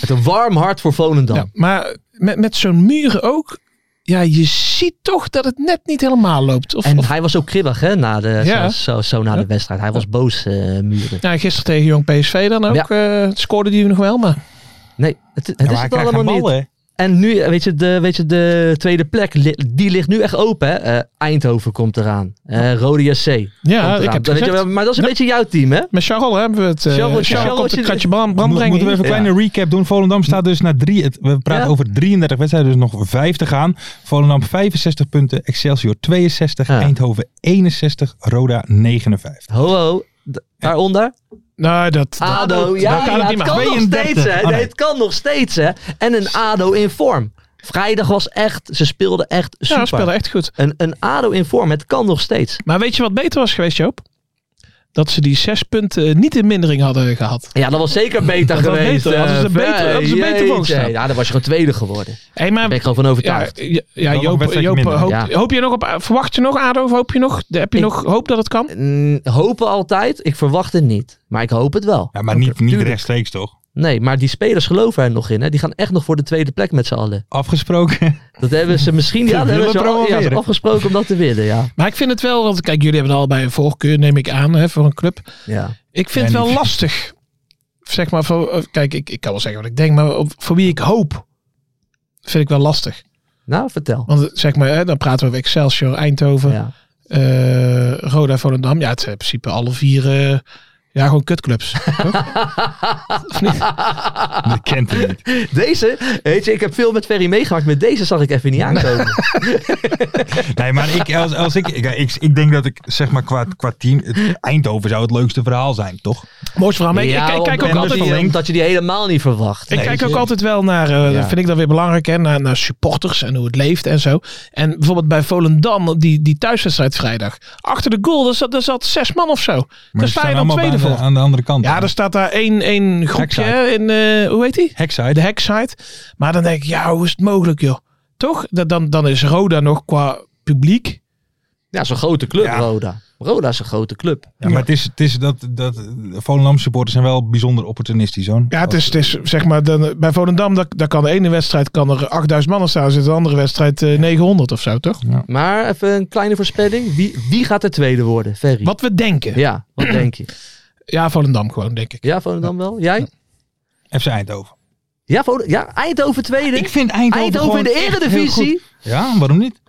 Speaker 4: Met een warm hart voor Volendam.
Speaker 5: Ja, maar met, met zo'n muren ook. Ja, je ziet toch dat het net niet helemaal loopt. Of,
Speaker 4: En
Speaker 5: of-
Speaker 4: hij was ook kribbig hè, na de,
Speaker 5: Ja.
Speaker 4: zo, zo, zo na de wedstrijd. Hij was boos, eh, Muren.
Speaker 5: ja, nou, gisteren tegen Jong PSV dan ook. eh, scoorde die nog wel, maar...
Speaker 4: Nee, het, het
Speaker 3: ja,
Speaker 4: is
Speaker 3: maar hij
Speaker 4: het
Speaker 3: krijgt geen
Speaker 4: allemaal niet.
Speaker 3: bal, hè?
Speaker 4: En nu, eh, weet je, de, weet je, de tweede plek, li- die ligt nu echt open. Hè? Eh, Eindhoven komt eraan. Eh Rode JC.
Speaker 5: Ja,
Speaker 4: komt
Speaker 5: ik
Speaker 4: eraan.
Speaker 5: heb het
Speaker 4: Dat weet je,
Speaker 5: gezegd.
Speaker 4: maar dat is een beetje jouw team, hè?
Speaker 5: Met Charles hebben we het. eh
Speaker 4: Charles-
Speaker 5: Charles,
Speaker 4: Charles
Speaker 5: komt
Speaker 4: zit-
Speaker 5: een kratje brand, brand
Speaker 3: Moet-
Speaker 5: brengen.
Speaker 3: Moeten we even een
Speaker 4: Ja.
Speaker 3: kleine recap doen. Volendam staat dus na drie. Het, we praten
Speaker 4: Ja.
Speaker 3: over 33 wedstrijden, dus nog vijf te gaan. Volendam 65 punten, Excelsior 62,
Speaker 4: Ja.
Speaker 3: Eindhoven 61, Roda 59.
Speaker 4: Ho, ho. D- Daaronder?
Speaker 5: Nou, dat, dat-
Speaker 4: ADO,
Speaker 5: dat
Speaker 4: ja,
Speaker 5: kan
Speaker 4: ja,
Speaker 5: het niet
Speaker 4: het
Speaker 5: meer.
Speaker 4: kan nog
Speaker 3: 32.
Speaker 4: steeds, hè.
Speaker 3: Oh, nee.
Speaker 4: Ah, Nee, het kan nog steeds, hè. En een ADO in vorm. Vrijdag was echt, ze speelden echt
Speaker 5: Ja,
Speaker 4: super.
Speaker 5: hij speelde echt goed.
Speaker 4: Een, een ADO in vorm, het kan nog steeds.
Speaker 5: Maar weet je wat beter was geweest, Joop? Dat ze die zes punten niet in mindering hadden gehad.
Speaker 4: Ja, dat was zeker beter
Speaker 5: Dat was
Speaker 4: geweest.
Speaker 5: beter, hadden ze
Speaker 4: eh,
Speaker 5: beter- hadden ze beter
Speaker 4: jeetje.
Speaker 5: voorgestaan.
Speaker 4: Ja, dan was je gewoon tweede geworden. Daar
Speaker 5: Hey, maar,
Speaker 4: ben ik gewoon van
Speaker 5: ja,
Speaker 4: overtuigd.
Speaker 5: ja, ja,
Speaker 3: nog een
Speaker 5: Joop,
Speaker 3: wedstrijdje
Speaker 5: Joop
Speaker 3: minder.
Speaker 5: hoop,
Speaker 4: Ja.
Speaker 5: hoop je nog op, verwacht je nog ADO? Of hoop je nog, heb je
Speaker 4: Ik-
Speaker 5: nog hoop dat het kan?
Speaker 4: Mm, hopen altijd, ik verwacht het niet. Maar ik hoop het wel.
Speaker 3: Ja, maar niet, niet
Speaker 4: tuurlijk.
Speaker 3: rechtstreeks toch?
Speaker 4: Nee, maar die spelers geloven er nog in. Hè? Die gaan echt nog voor de tweede plek met z'n allen.
Speaker 3: Afgesproken.
Speaker 4: Dat hebben ze misschien ja, dat
Speaker 3: willen
Speaker 4: hebben ze al- ja,
Speaker 3: promoveren.
Speaker 4: afgesproken om dat te winnen. Ja.
Speaker 5: Maar ik vind het wel, want kijk, jullie hebben er allebei een voorkeur, neem ik aan, hè, voor een club.
Speaker 4: Ja.
Speaker 5: Ik vind
Speaker 3: Ja,
Speaker 5: het wel
Speaker 3: niet.
Speaker 5: lastig. Zeg maar, voor, eh, kijk, ik, ik kan wel zeggen wat ik denk, maar op- voor wie ik hoop, vind ik wel lastig.
Speaker 4: Nou, vertel.
Speaker 5: Want zeg maar, hè, dan praten we over Excelsior, Eindhoven,
Speaker 4: Ja.
Speaker 5: eh, Roda, Volendam. Ja, het zijn in principe alle vier eh, Ja, gewoon kutclubs. toch? of niet?
Speaker 3: Dat kent hij niet.
Speaker 4: Deze, weet je, ik heb veel met Ferry meegemaakt, maar deze zag ik even niet aankomen.
Speaker 3: Nee, maar ik, als, als ik, ik, ik, ik denk dat ik zeg maar qua, qua team, het Eindhoven zou het leukste verhaal zijn, toch?
Speaker 5: Mooi verhaal. Maar ik-
Speaker 4: Ja,
Speaker 5: ik, ik
Speaker 4: want
Speaker 5: kijk ook
Speaker 4: omdat
Speaker 5: altijd...
Speaker 4: je, omdat je die helemaal niet verwacht.
Speaker 5: Ik
Speaker 4: Nee,
Speaker 5: kijk
Speaker 4: weet
Speaker 5: ook
Speaker 4: je.
Speaker 5: altijd wel naar, eh, dat vind ik dan weer belangrijk, hè, naar, naar supporters en hoe het leeft en zo. En bijvoorbeeld bij Volendam, die, die thuiswedstrijd vrijdag. Achter de goal, daar zat, daar zat zes man of zo.
Speaker 3: Maar
Speaker 5: Daar
Speaker 3: ze
Speaker 5: sta
Speaker 3: staan
Speaker 5: je dan
Speaker 3: allemaal
Speaker 5: tweede
Speaker 3: bij de-
Speaker 5: voor.
Speaker 3: aan de andere kant.
Speaker 5: Ja, er staat daar één, één groepje
Speaker 3: Hackside.
Speaker 5: hè, in, eh, hoe heet die?
Speaker 3: Hexide.
Speaker 5: De Hackside. Maar dan denk ik, ja, hoe is het mogelijk joh? Toch? Dat- Dan, dan is Roda nog qua publiek.
Speaker 4: Ja, zo'n grote club,
Speaker 3: Ja.
Speaker 4: Roda. Roda is een grote club.
Speaker 3: Ja, maar het is, het is dat, dat Volendam supporters zijn wel bijzonder opportunistisch, hoor.
Speaker 5: Ja, het is, het is zeg maar, dan, bij Volendam, daar, daar kan de ene wedstrijd kan er 8000 man staan zitten, de andere wedstrijd eh, 900 of zo, toch?
Speaker 4: Maar even een kleine voorspelling. Wie, wie gaat de tweede worden, Ferry?
Speaker 5: Wat we denken. Ja,
Speaker 4: Ja, wat denk je?
Speaker 5: Volendam gewoon, denk ik.
Speaker 4: Ja, Volendam wel? Jij?
Speaker 3: FC Eindhoven.
Speaker 4: Ja, Volendam, ja Eindhoven tweede.
Speaker 3: Ik vind Eindhoven,
Speaker 4: Eindhoven in de
Speaker 3: gewoon echt heel
Speaker 4: Eredivisie.
Speaker 3: goed. Ja, waarom niet?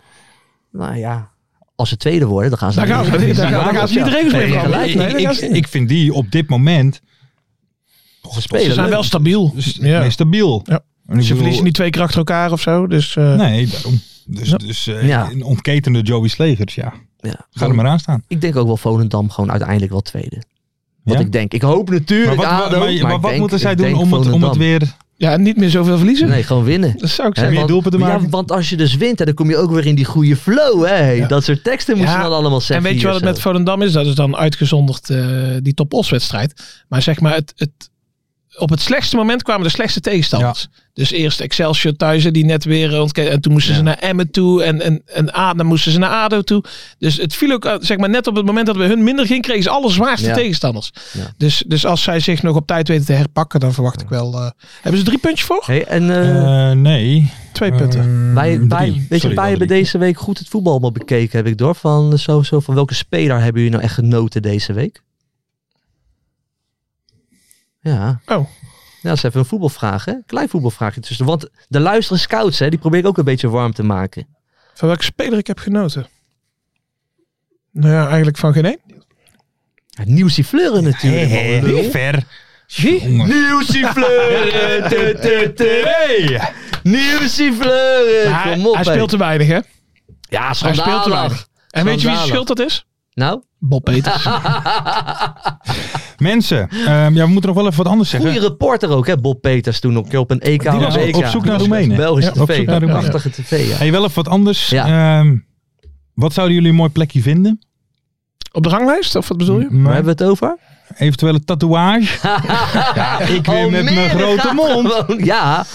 Speaker 4: Nou ja, als ze tweede worden, dan gaan ze
Speaker 5: Daar
Speaker 4: naar
Speaker 5: gaan
Speaker 4: de
Speaker 5: ze, daar
Speaker 4: Eredivisie.
Speaker 5: gaan, daar gaan ze niet de regels mee
Speaker 4: gelijk.
Speaker 5: veranderen.
Speaker 3: ik,
Speaker 5: Nee, daar
Speaker 3: ik,
Speaker 5: gaan ze
Speaker 3: ik-
Speaker 5: niet.
Speaker 3: ik vind die op dit moment
Speaker 5: Ze
Speaker 4: Spelen.
Speaker 5: zijn wel stabiel.
Speaker 3: dus
Speaker 5: Ja.
Speaker 3: meer stabiel.
Speaker 5: Ja.
Speaker 3: En ik
Speaker 5: Ze
Speaker 3: bedoel-
Speaker 5: verliezen niet twee keer achter elkaar of zo. Dus, eh,
Speaker 3: Nee, daarom. Dus, dus eh,
Speaker 4: Ja.
Speaker 3: een ontketende Joey Slegers, ja.
Speaker 4: Ja.
Speaker 3: Ga er maar aan staan.
Speaker 4: Ik denk ook wel Volendam gewoon uiteindelijk wel tweede. Wat
Speaker 3: Ja?
Speaker 4: ik denk. Ik hoop natuurlijk
Speaker 3: Maar wat,
Speaker 4: ADO,
Speaker 3: maar- maar
Speaker 4: ik
Speaker 3: wat
Speaker 4: denk-
Speaker 3: moeten zij
Speaker 4: ik
Speaker 3: doen
Speaker 4: denk
Speaker 3: om het, om het
Speaker 4: Volendam.
Speaker 3: weer...
Speaker 5: Ja, en niet meer zoveel verliezen.
Speaker 4: Nee, gewoon winnen.
Speaker 5: Dat zou ik
Speaker 4: Hè,
Speaker 5: zeggen.
Speaker 3: meer doelpunten
Speaker 4: ja,
Speaker 3: maken.
Speaker 4: want als je dus wint, hè, dan kom je ook weer in die goede flow. Hè. Dat soort teksten moeten
Speaker 5: Ja,
Speaker 4: dan allemaal zeggen.
Speaker 5: En weet je
Speaker 4: hier
Speaker 5: wat het met
Speaker 4: zo.
Speaker 5: Volendam is? Dat is dan uitgezonderd eh, die top os wedstrijd. Maar zeg maar, het, het, op het slechtste moment kwamen de slechtste tegenstanders. Dus eerst Excelsior thuis, hè, die net weer eh, ontkend. En toen moesten ze naar Emmen toe. En, en, en A, dan moesten ze naar ADO toe. Dus het viel ook, eh, zeg maar, net op het moment dat we hun minder ging, kregen ze alle zwaarste
Speaker 4: Ja.
Speaker 5: tegenstanders.
Speaker 4: Ja.
Speaker 5: Dus, dus als zij zich nog op tijd weten te herpakken, dan verwacht ik wel... eh, hebben ze drie puntjes voor?
Speaker 4: Hey, en eh,
Speaker 3: Eh, nee.
Speaker 5: Twee punten.
Speaker 3: Eh,
Speaker 4: wij, wij,
Speaker 3: drie.
Speaker 4: weet je,
Speaker 3: Sorry,
Speaker 4: wij
Speaker 3: wel
Speaker 4: hebben
Speaker 3: drie.
Speaker 4: deze week goed het voetbal allemaal bekeken, heb ik door. Van, eh, zo, zo, van welke speler hebben jullie nou echt genoten deze week? Ja.
Speaker 5: Oh.
Speaker 4: Ja, dat is even een voetbalvraag, hè? Klein voetbalvraagje tussen. Want de luisteren scouts, hè, die probeer ik ook een beetje warm te maken.
Speaker 5: Van welke speler ik heb genoten? Nou ja, eigenlijk van geen één.
Speaker 4: Ja, Nieuwsie Fleuren natuurlijk.
Speaker 3: Hé, hé,
Speaker 4: man. Lul.
Speaker 3: Ver. Jongen.
Speaker 4: Nieuwsie Fleuren. tu, tu, tu.
Speaker 3: Hey.
Speaker 4: Nieuwsie Fleuren.
Speaker 5: Maar
Speaker 4: Kom op,
Speaker 5: hij
Speaker 4: hé.
Speaker 5: speelt te weinig, hè?
Speaker 4: Ja,
Speaker 5: Hij speelt te weinig.
Speaker 4: schandalig.
Speaker 5: En weet je wie zijn
Speaker 4: Schandalig.
Speaker 5: schuld dat is?
Speaker 4: Nou,
Speaker 5: Bob Peters.
Speaker 3: Mensen, ehm, ja, we moeten nog wel even wat anders zeggen.
Speaker 4: goede reporter ook, hè, Bob Peters toen ook op een EK.
Speaker 3: Die was
Speaker 4: of
Speaker 3: op-
Speaker 4: WK.
Speaker 3: op zoek naar
Speaker 4: Dat is
Speaker 3: Roemenen.
Speaker 4: Belgische
Speaker 3: Ja, op
Speaker 4: tv,
Speaker 3: zoek naar
Speaker 4: hè.
Speaker 3: Roemenen.
Speaker 4: prachtige tv, ja.
Speaker 3: Hey, wel even wat anders. Ehm, wat zouden jullie een mooi plekje vinden?
Speaker 5: Op de ranglijst? Of wat bedoel je?
Speaker 4: Waar
Speaker 3: Maar
Speaker 4: hebben we het over?
Speaker 3: eventuele tatoeage. ja, ik weer met mijn
Speaker 4: Almere
Speaker 3: grote
Speaker 4: gaat
Speaker 3: mond.
Speaker 4: gewoon- ja,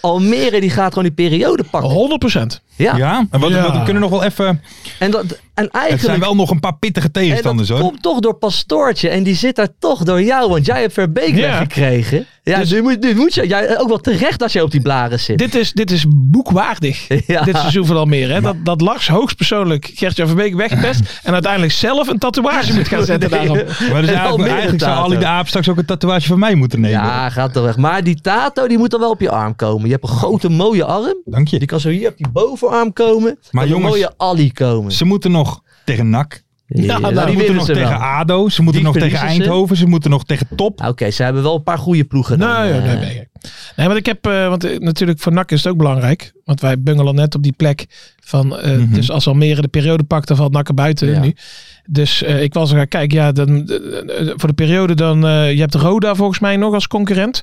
Speaker 4: Almere die gaat gewoon die periode pakken.
Speaker 5: 100 procent.
Speaker 4: Ja.
Speaker 3: Oh, Ja, en wat,
Speaker 5: Ja.
Speaker 3: wat- we kunnen nog wel even...
Speaker 4: En, dat, en
Speaker 3: Het
Speaker 4: eigenlijk...
Speaker 3: zijn wel nog een paar pittige
Speaker 4: en dat
Speaker 3: tegenstanders hoor.
Speaker 4: komt toch door Pastoortje. En die zit daar toch door jou. Want jij hebt Verbeek
Speaker 5: Ja.
Speaker 4: weggekregen. Ja, dus
Speaker 5: Dus-
Speaker 4: nu moet, nu moet je... Jij, ook wel terecht dat je op die blaren zit.
Speaker 5: Dit is, dit is boekwaardig.
Speaker 4: Ja.
Speaker 5: Dit seizoen van Almere. Hè? Dat, dat Lars hoogstpersoonlijk Gert-Jan Verbeek wegpest. en uiteindelijk zelf een tatoeage moet gaan zetten daarop.
Speaker 3: Maar dus
Speaker 4: En
Speaker 3: eigenlijk,
Speaker 4: Almere
Speaker 3: eigenlijk zou
Speaker 4: tato.
Speaker 3: Ali de Aap straks ook een tatoeage van mij moeten nemen.
Speaker 4: Ja, gaat toch weg. Maar die tato die moet dan wel op je arm komen. Je hebt een grote mooie arm.
Speaker 3: Dank je.
Speaker 4: Die kan zo hier op je bovenarm komen.
Speaker 3: Maar
Speaker 4: Maar jongens, een
Speaker 3: jongens-
Speaker 4: mooie Ali komen.
Speaker 3: Ze moeten nog tegen NAC.
Speaker 4: Ja,
Speaker 5: nou,
Speaker 3: ze
Speaker 4: die
Speaker 3: moeten
Speaker 4: winnen
Speaker 3: nog
Speaker 4: ze
Speaker 3: tegen
Speaker 4: wel.
Speaker 3: ADO. Ze moeten
Speaker 4: Die
Speaker 3: nog tegen
Speaker 4: verliezen ze.
Speaker 3: Eindhoven. Ze moeten nog tegen Top.
Speaker 4: Oké, ze hebben wel een paar goede ploegen. dan,
Speaker 5: Nee,
Speaker 4: eh.
Speaker 5: nee, nee. nee. Nee, want ik heb, eh, want eh, natuurlijk voor NAC is het ook belangrijk. Want wij bungelen net op die plek van, eh, dus als Almere de periode pakt, dan valt NAC er buiten
Speaker 4: Mhm. Ja.
Speaker 5: nu. Dus eh, ik was er gaan kijken, ja, dan, eh, eh, voor de periode dan, eh, je hebt Roda volgens mij nog als concurrent.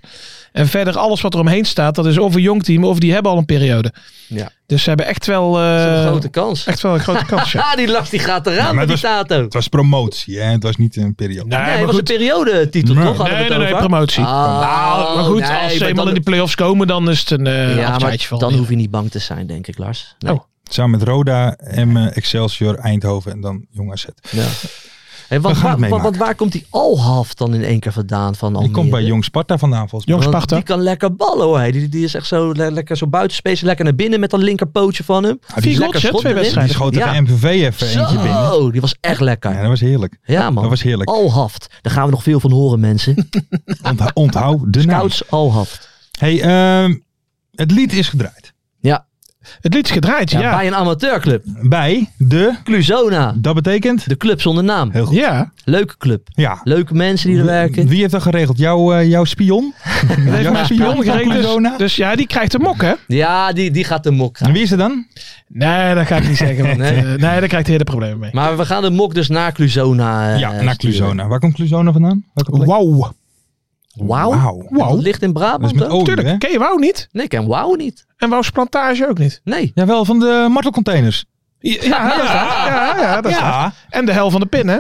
Speaker 5: En verder alles wat er omheen staat, dat is of een jong team, of die hebben al een periode.
Speaker 4: Ja.
Speaker 5: Dus ze hebben echt wel, eh,
Speaker 4: Dat is een grote kans.
Speaker 5: echt wel een grote kans. ja.
Speaker 4: Ah, die lach die gaat eraan
Speaker 3: maar
Speaker 4: met die
Speaker 3: het
Speaker 4: tato.
Speaker 3: Het was promotie. Hè? Het was niet een periode.
Speaker 5: Nee,
Speaker 4: Nee,
Speaker 5: maar
Speaker 4: het was
Speaker 5: goed.
Speaker 4: een periodetitel,
Speaker 3: Nee.
Speaker 4: toch? Hadden we
Speaker 5: Nee,
Speaker 4: het
Speaker 5: nee, nee,
Speaker 4: over?
Speaker 5: promotie.
Speaker 4: Ah,
Speaker 5: Nou, maar goed,
Speaker 4: nee,
Speaker 5: als ze
Speaker 4: maar
Speaker 5: eenmaal
Speaker 4: dan-
Speaker 5: in die play-offs komen, dan is het een eh
Speaker 4: Ja,
Speaker 5: afscheidje
Speaker 4: maar
Speaker 5: van
Speaker 4: dan
Speaker 5: Almere.
Speaker 4: hoef je niet bang te zijn, denk ik, Lars. Nee.
Speaker 5: Oh.
Speaker 3: Samen met Roda, Emmen, Excelsior, Eindhoven en dan Jong AZ.
Speaker 4: Ja. Hey, wat,
Speaker 3: We gaan het
Speaker 4: waar, wat,
Speaker 3: meemaken.
Speaker 4: wat- waar komt die Alhaf dan in één keer vandaan van Almere?
Speaker 3: Die komt bij Jong Sparta vandaan volgens mij.
Speaker 5: Jong
Speaker 4: Want
Speaker 5: Sparta.
Speaker 4: Die kan lekker ballen hoor. Hij. Die, die is echt zo le- lekker zo buitenspace, lekker naar binnen met dat linkerpootje van hem.
Speaker 3: Ah, die
Speaker 4: Lekker
Speaker 5: goals, hè,
Speaker 4: schot erin.
Speaker 5: twee
Speaker 3: Die
Speaker 5: wedstrijden.
Speaker 3: schoot
Speaker 4: Ja.
Speaker 3: tegen MVV even eentje binnen.
Speaker 4: Zo, die was echt lekker.
Speaker 3: Ja,
Speaker 4: Ja,
Speaker 3: dat was heerlijk.
Speaker 4: man.
Speaker 3: Dat was heerlijk. Nou.
Speaker 4: Alhaft. Daar gaan we nog veel van horen, mensen.
Speaker 3: Onthoud, onthoud de naam.
Speaker 4: Scouts Alhaft.
Speaker 3: Hey, ehm, het lied is gedraaid.
Speaker 4: Ja.
Speaker 5: Het lied is gedraaid,
Speaker 4: Ja,
Speaker 5: ja. Ja,
Speaker 4: Bij een amateurclub.
Speaker 3: Bij de,
Speaker 4: Cluzona.
Speaker 3: dat betekent?
Speaker 4: De club zonder naam.
Speaker 3: Heel goed.
Speaker 4: Leuke club.
Speaker 3: Ja.
Speaker 4: Leuke mensen die er werken.
Speaker 3: Wie heeft dat geregeld? Jouw, eh, jouw spion?
Speaker 5: dat heeft mijn spion geregeld.
Speaker 3: Corona?
Speaker 5: Dus, dus ja, die krijgt een mok, hè?
Speaker 4: Ja, die, die gaat de mok
Speaker 3: En
Speaker 4: krijgen.
Speaker 3: wie is het dan?
Speaker 5: Nee, dat ga ik niet zeggen. Want,
Speaker 4: Nee.
Speaker 5: eh, nee, daar krijgt hij hele problemen mee.
Speaker 4: Maar we gaan de mok dus naar Cluzona. eh,
Speaker 3: ja, naar
Speaker 4: sturen.
Speaker 3: Cluzona. Waar komt Cluzona vandaan? Welke plek?
Speaker 5: Wauw.
Speaker 4: Wauw.
Speaker 3: Wauw.
Speaker 4: En Oh, Dat ligt in
Speaker 3: Dat is
Speaker 4: Brabant.
Speaker 3: met
Speaker 4: hè?
Speaker 3: olie, hè?
Speaker 5: Tuurlijk, ken je Wauw niet?
Speaker 4: Nee, ik ken Wauw niet.
Speaker 5: En Wouw's plantage ook niet.
Speaker 4: Nee.
Speaker 3: Jawel, van de martelcontainers.
Speaker 5: Ja, ja, ja, ja, ja, dat
Speaker 3: Ja.
Speaker 5: staat. En de hel van de pin, hè?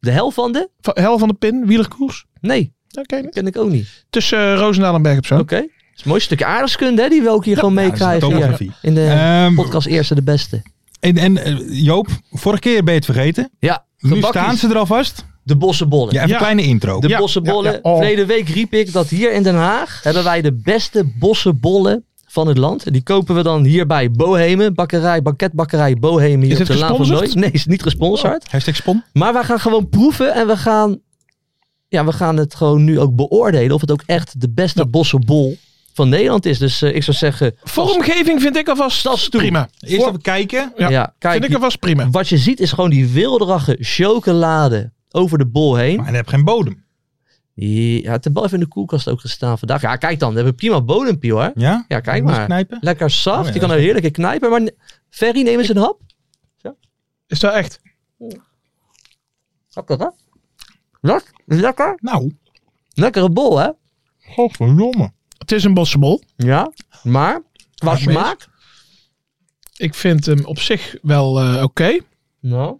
Speaker 4: De hel van de?
Speaker 5: Va- Hel van de pin, wielerkoers.
Speaker 4: Nee,
Speaker 5: Dat ken je niet.
Speaker 4: ken ik ook niet.
Speaker 5: Tussen eh, Roosendaal en Berg op Zoom.
Speaker 4: Oké. Dat is een mooi stukje aardrijkskunde hè, die we ook hier gewoon
Speaker 3: dat is
Speaker 4: meekrijgen. hier.
Speaker 3: topografie.
Speaker 4: in de
Speaker 3: Ehm,
Speaker 4: podcast Eerste de Beste.
Speaker 3: En, en eh, Joop, vorige keer ben je het vergeten.
Speaker 4: Ja, de
Speaker 3: Nu
Speaker 4: bakkies.
Speaker 3: staan ze er alvast.
Speaker 4: De bossenbollen.
Speaker 3: Ja, even
Speaker 5: Ja.
Speaker 3: een kleine intro.
Speaker 4: De
Speaker 5: Ja,
Speaker 4: bossenbollen.
Speaker 5: ja, ja. Oh.
Speaker 4: Verleden week riep ik dat hier in Den Haag hebben wij de beste bossenbollen van het land. En Die kopen we dan hier bij Bohemen, bakkerij, banketbakkerij Bohemen hier
Speaker 5: Is
Speaker 4: op
Speaker 5: het
Speaker 4: de Laan van
Speaker 5: gesponsord? Oh,
Speaker 4: Nooit. Nee, is niet gesponsord.
Speaker 3: Hashtag spon.
Speaker 4: Maar wij gaan gewoon proeven en we gaan, ja, we gaan het gewoon nu ook beoordelen of het ook echt de beste bossenbol van Nederland is. Dus eh, ik zou zeggen,
Speaker 5: Vormgeving vind ik alvast
Speaker 4: Dat is toe.
Speaker 5: prima.
Speaker 3: Eerst even kijken.
Speaker 5: Ja,
Speaker 4: ja, kijk,
Speaker 5: vind ik alvast prima.
Speaker 4: wat je ziet is gewoon die wilderige chocolade over de bol heen.
Speaker 3: Maar hij heeft geen bodem.
Speaker 4: Ja, het heeft wel even in de koelkast ook gestaan vandaag. Ja, kijk dan, we hebben prima bodempio hè.
Speaker 3: Ja?
Speaker 4: Ja, kijk
Speaker 3: Moet je
Speaker 4: maar.
Speaker 3: knijpen?
Speaker 4: Lekker zacht,
Speaker 3: Oh ja,
Speaker 4: je kan
Speaker 3: dat
Speaker 4: er heerlijke knijpen. Maar Ferry, neem eens een hap.
Speaker 5: Is dat echt?
Speaker 4: Lekker hè? Lek- Lekker.
Speaker 3: Nou,
Speaker 4: Lekkere bol hè.
Speaker 3: godverdomme.
Speaker 5: Het is een bossenbol.
Speaker 4: Ja, maar qua
Speaker 5: Smaak?
Speaker 4: smaak...
Speaker 5: Ik vind hem op zich wel eh, oké.
Speaker 4: Nou,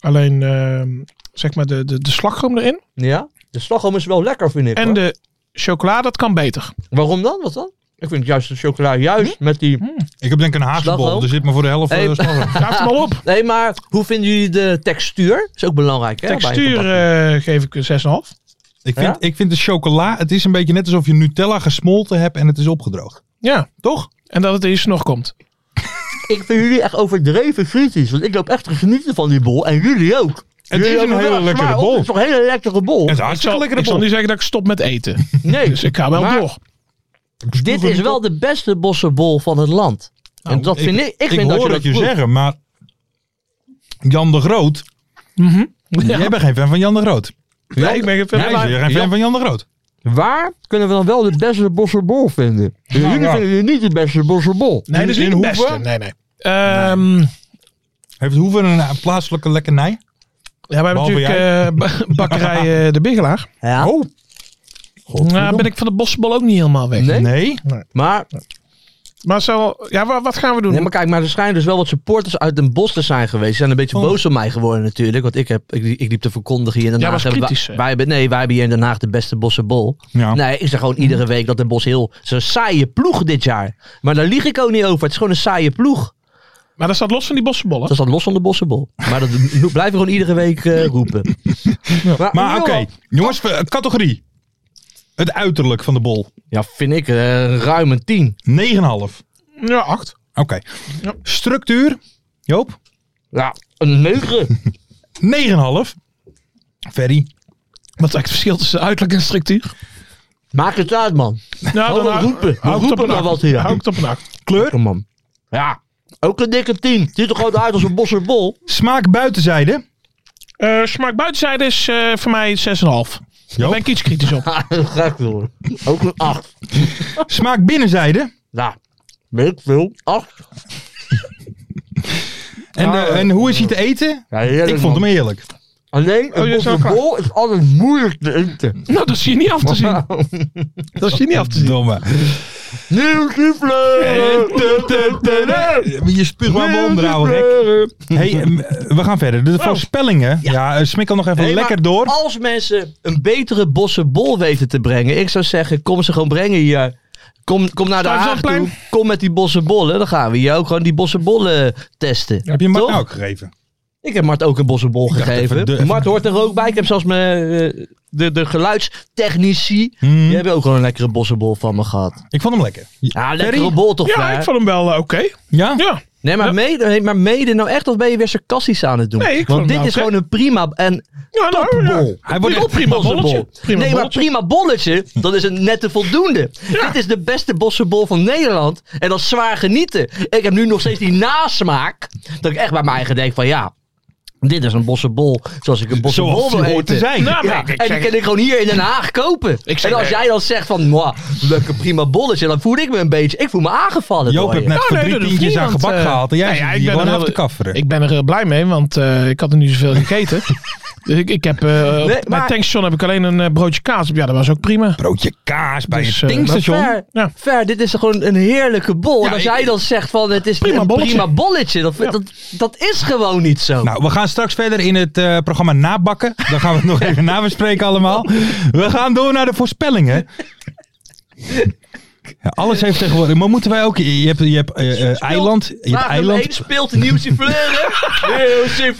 Speaker 5: Alleen ehm, zeg maar de, de, de slagroom erin.
Speaker 4: ja. De slagroom is wel lekker, vind ik.
Speaker 5: En
Speaker 4: hoor.
Speaker 5: de chocola, dat kan beter.
Speaker 4: Waarom dan? Wat dan? Ik vind juist de chocola juist
Speaker 3: Hm?
Speaker 4: met die...
Speaker 3: Ik heb denk ik een hazenbol.
Speaker 4: Slagroom?
Speaker 3: Dus zit maar voor de helft van
Speaker 4: Hey.
Speaker 3: de slagroom.
Speaker 5: Gaat hem al op.
Speaker 4: Nee, maar hoe vinden jullie de textuur? Is ook belangrijk, hè? bij een
Speaker 5: Textuur
Speaker 4: gebakje.
Speaker 5: eh, geef ik een 6,5.
Speaker 3: Ik
Speaker 4: Ja?
Speaker 3: vind, ik vind de chocola, het is een beetje net alsof je Nutella gesmolten hebt en het is opgedroogd.
Speaker 5: Ja. Toch? En dat het eerst nog komt.
Speaker 4: Ik vind jullie echt overdreven kritisch. Want ik loop echt te genieten van die bol. En jullie ook.
Speaker 3: Het
Speaker 4: Jullie
Speaker 3: is een
Speaker 4: hebben
Speaker 3: hele
Speaker 4: wel
Speaker 3: lekkere
Speaker 4: smaak op.
Speaker 3: bol.
Speaker 4: Het is toch een hele lekkere bol?
Speaker 3: Het is
Speaker 5: Ik zal,
Speaker 3: hartstikke lekkere
Speaker 5: ik zal
Speaker 3: bol.
Speaker 5: niet zeggen dat ik stop met eten.
Speaker 4: Nee.
Speaker 5: Dus ik ga wel
Speaker 4: Maar
Speaker 5: door.
Speaker 4: Dit is wel de beste bossenbol van het land.
Speaker 3: Nou,
Speaker 4: en dat vind ik... Ik,
Speaker 3: Ik, hoor
Speaker 4: vind dat je
Speaker 3: het
Speaker 4: dat
Speaker 3: je
Speaker 4: proeft.
Speaker 3: zeggen, maar Jan de Groot,
Speaker 5: Ja.
Speaker 3: jij bent geen fan van Jan de Groot.
Speaker 5: Nee, ik ben geen fan
Speaker 3: Jij
Speaker 5: van-
Speaker 3: bent geen fan
Speaker 4: Jan-
Speaker 3: van Jan de Groot.
Speaker 4: Waar kunnen we dan wel de beste bossenbol vinden? Dus jullie
Speaker 3: ja.
Speaker 4: vinden het niet de beste bossenbol.
Speaker 5: Nee, dat is
Speaker 3: In-
Speaker 5: niet
Speaker 3: in
Speaker 5: de
Speaker 3: Hoeven?
Speaker 5: beste. Nee, nee. Ehm,
Speaker 3: Heeft Hoeven een eh, plaatselijke lekkernij?
Speaker 5: ja, we hebben
Speaker 3: Behalve
Speaker 5: natuurlijk eh, ba- bakkerij eh, De Bigelaar.
Speaker 4: Ja.
Speaker 3: Oh.
Speaker 5: Nou, ben ik van de bossenbol ook niet helemaal weg.
Speaker 4: Nee?
Speaker 3: Nee.
Speaker 4: Maar
Speaker 5: Maar zo, ja, wa- wat gaan we doen?
Speaker 4: Nee, maar kijk, maar er schijnen dus wel wat supporters uit Den Bosch te zijn geweest. Ze zijn een beetje
Speaker 3: Oh.
Speaker 4: boos op mij geworden natuurlijk. Want ik, heb, ik, ik liep te verkondigen hier in Den
Speaker 5: Jij
Speaker 4: Haag.
Speaker 5: was
Speaker 4: hebben wij-
Speaker 5: kritisch, hè?
Speaker 4: wij, hebben, nee, wij hebben hier in Den Haag de beste bossenbol.
Speaker 3: Ja.
Speaker 4: Nee, is er gewoon iedere week dat Den Bosch heel... Zo'n saaie ploeg dit jaar. Maar daar lieg ik ook niet over. Het is gewoon een saaie ploeg.
Speaker 5: Maar dat staat los van die bossenbollen.
Speaker 4: Dat staat los van de bossenbol. Maar dat blijven we gewoon iedere week eh, roepen.
Speaker 3: Maar
Speaker 4: Johan,
Speaker 3: oké, jongens, eh, categorie. Het uiterlijk van de bol. 9,5.
Speaker 4: Ja, vind ik eh, ruim een tien.
Speaker 3: Oké.
Speaker 5: Ja, acht. Ja.
Speaker 3: Structuur. Joop.
Speaker 4: Ja, een negen.
Speaker 3: 9,5. Ferry.
Speaker 5: Wat is eigenlijk het verschil tussen uiterlijk en structuur?
Speaker 4: Maak het uit, man.
Speaker 5: Nou,
Speaker 4: Oh, we roepen. We
Speaker 5: Hou ik het
Speaker 4: roepen
Speaker 5: op een
Speaker 4: maar
Speaker 5: acht.
Speaker 4: wat hier.
Speaker 5: Hou ik het op een acht.
Speaker 3: Kleur.
Speaker 4: man. Ja, ook een dikke tien. Ziet er gewoon uit als een bossenbol.
Speaker 3: Smaak buitenzijde.
Speaker 5: Eh, smaak buitenzijde is eh, voor mij 6,5. Daar ben ik iets kritisch op.
Speaker 4: Ja, gek hoor. Ook een 8.
Speaker 3: Smaak binnenzijde.
Speaker 4: Nou, weet ik veel. 8.
Speaker 3: En,
Speaker 4: Ah,
Speaker 3: eh, en hoe is hij te eten?
Speaker 4: Ja, heerlijk,
Speaker 3: Ik vond hem
Speaker 4: man.
Speaker 3: heerlijk.
Speaker 4: Alleen,
Speaker 5: Oh,
Speaker 4: een
Speaker 5: je zou
Speaker 4: bossenbol is altijd moeilijk te eten.
Speaker 5: Nou, dat zie je niet af te zien. Dat is je niet af te zien.
Speaker 3: Domme.
Speaker 4: Nieuw die fleuren.
Speaker 3: Je spuugt maar wel onder, ouwe nek. Hey, eh, we gaan verder.
Speaker 5: Oh.
Speaker 3: De voorspellingen. Ja, eh, smikkel nog even
Speaker 4: Hey,
Speaker 3: lekker
Speaker 4: maar Oh.
Speaker 3: door.
Speaker 4: Als mensen een betere bossenbol weten te brengen, ik zou zeggen, kom ze gewoon brengen hier. Kom, kom naar de
Speaker 5: Staan ze
Speaker 4: Haag
Speaker 5: op het
Speaker 4: toe. Kom met die bossenbollen. Dan gaan we hier ook gewoon die bossenbollen testen.
Speaker 3: Heb je Mart
Speaker 4: Toch?
Speaker 3: nou ook gegeven?
Speaker 4: Ik heb Mart ook een bossenbol
Speaker 3: dacht even
Speaker 4: gegeven.
Speaker 3: de- even-
Speaker 4: Mart hoort er ook bij. Ik heb zelfs mijn, eh, de, de geluidstechnici.
Speaker 3: Hmm.
Speaker 4: Die hebben ook gewoon een lekkere bossenbol van me gehad.
Speaker 3: Ik vond hem lekker.
Speaker 4: Ja, lekkere bol toch,
Speaker 5: Ja,
Speaker 4: Fer?
Speaker 5: ik vond hem wel eh, oké.
Speaker 3: Ja?
Speaker 5: Ja.
Speaker 4: Nee, maar,
Speaker 5: Ja.
Speaker 4: mede, maar mede nou echt of ben je weer sarcastisch aan het doen?
Speaker 5: Nee, ik vond
Speaker 4: Want dit
Speaker 5: het
Speaker 4: is
Speaker 5: nou
Speaker 4: gewoon een prima en
Speaker 5: Ja, nou, ja.
Speaker 4: topbol.
Speaker 3: Hij wordt echt prima
Speaker 4: bosse
Speaker 5: bolletje.
Speaker 4: bol.
Speaker 5: Prima
Speaker 4: nee, maar
Speaker 5: bolletje.
Speaker 4: prima bolletje, dat is een nette voldoende. Dit is de beste bossenbol van Nederland. En dat is zwaar genieten. Ik heb nu nog steeds die nasmaak. Dat ik echt bij mij eigen denk van ja, dit is een bossenbol zoals ik een bossenbol
Speaker 3: Zoals
Speaker 4: wil
Speaker 3: die hoort te
Speaker 4: eten.
Speaker 3: zijn.
Speaker 5: Nou,
Speaker 4: Ja,
Speaker 5: maar ik
Speaker 4: en die
Speaker 5: zeg-
Speaker 4: kan ik gewoon hier in Den Haag kopen.
Speaker 5: zeg-
Speaker 4: En als jij dan zegt van, "Mwah, lekker prima bolletje, dan voel ik me een beetje, ik voel me aangevallen.
Speaker 3: Joop
Speaker 4: door
Speaker 3: heeft
Speaker 4: je.
Speaker 3: net
Speaker 5: Nou,
Speaker 3: voor
Speaker 5: nee,
Speaker 3: drie
Speaker 5: dat hoeft
Speaker 3: tientjes
Speaker 5: niet,
Speaker 3: aan
Speaker 5: want,
Speaker 3: gebak
Speaker 5: eh,
Speaker 3: gehaald. En jij
Speaker 5: nou ja,
Speaker 3: zit
Speaker 5: ik
Speaker 3: hier
Speaker 5: ben
Speaker 3: gewoon
Speaker 5: er
Speaker 3: af te
Speaker 5: heel-
Speaker 3: kafferen.
Speaker 5: Ik ben er heel blij mee, want eh, ik had er nu zoveel gegeten. dus ik, ik heb, eh op
Speaker 4: maar-
Speaker 5: mijn tankstation heb ik alleen een eh, broodje kaas. Ja, dat was ook prima.
Speaker 3: Broodje kaas bij
Speaker 5: Dus,
Speaker 3: een
Speaker 5: eh,
Speaker 3: tankstation.
Speaker 4: Maar ver,
Speaker 5: Ja.
Speaker 4: ver, dit is gewoon een heerlijke bol. en als jij dan zegt van het is
Speaker 5: Prima
Speaker 4: een
Speaker 5: bolletje.
Speaker 4: prima bolletje, dat,
Speaker 5: Ja.
Speaker 4: dat, dat is gewoon niet zo.
Speaker 3: Nou, we gaan straks verder in het eh, programma nabakken. Dan gaan we het nog even nabespreken allemaal. We gaan door naar de voorspellingen. Ja, alles heeft tegenwoordig. Maar moeten wij ook. Je hebt, je hebt eh, eh, eiland. Je hebt
Speaker 4: Vraag nummer
Speaker 3: eiland.
Speaker 4: één, speelt de nieuwste fleuren. Nieuwste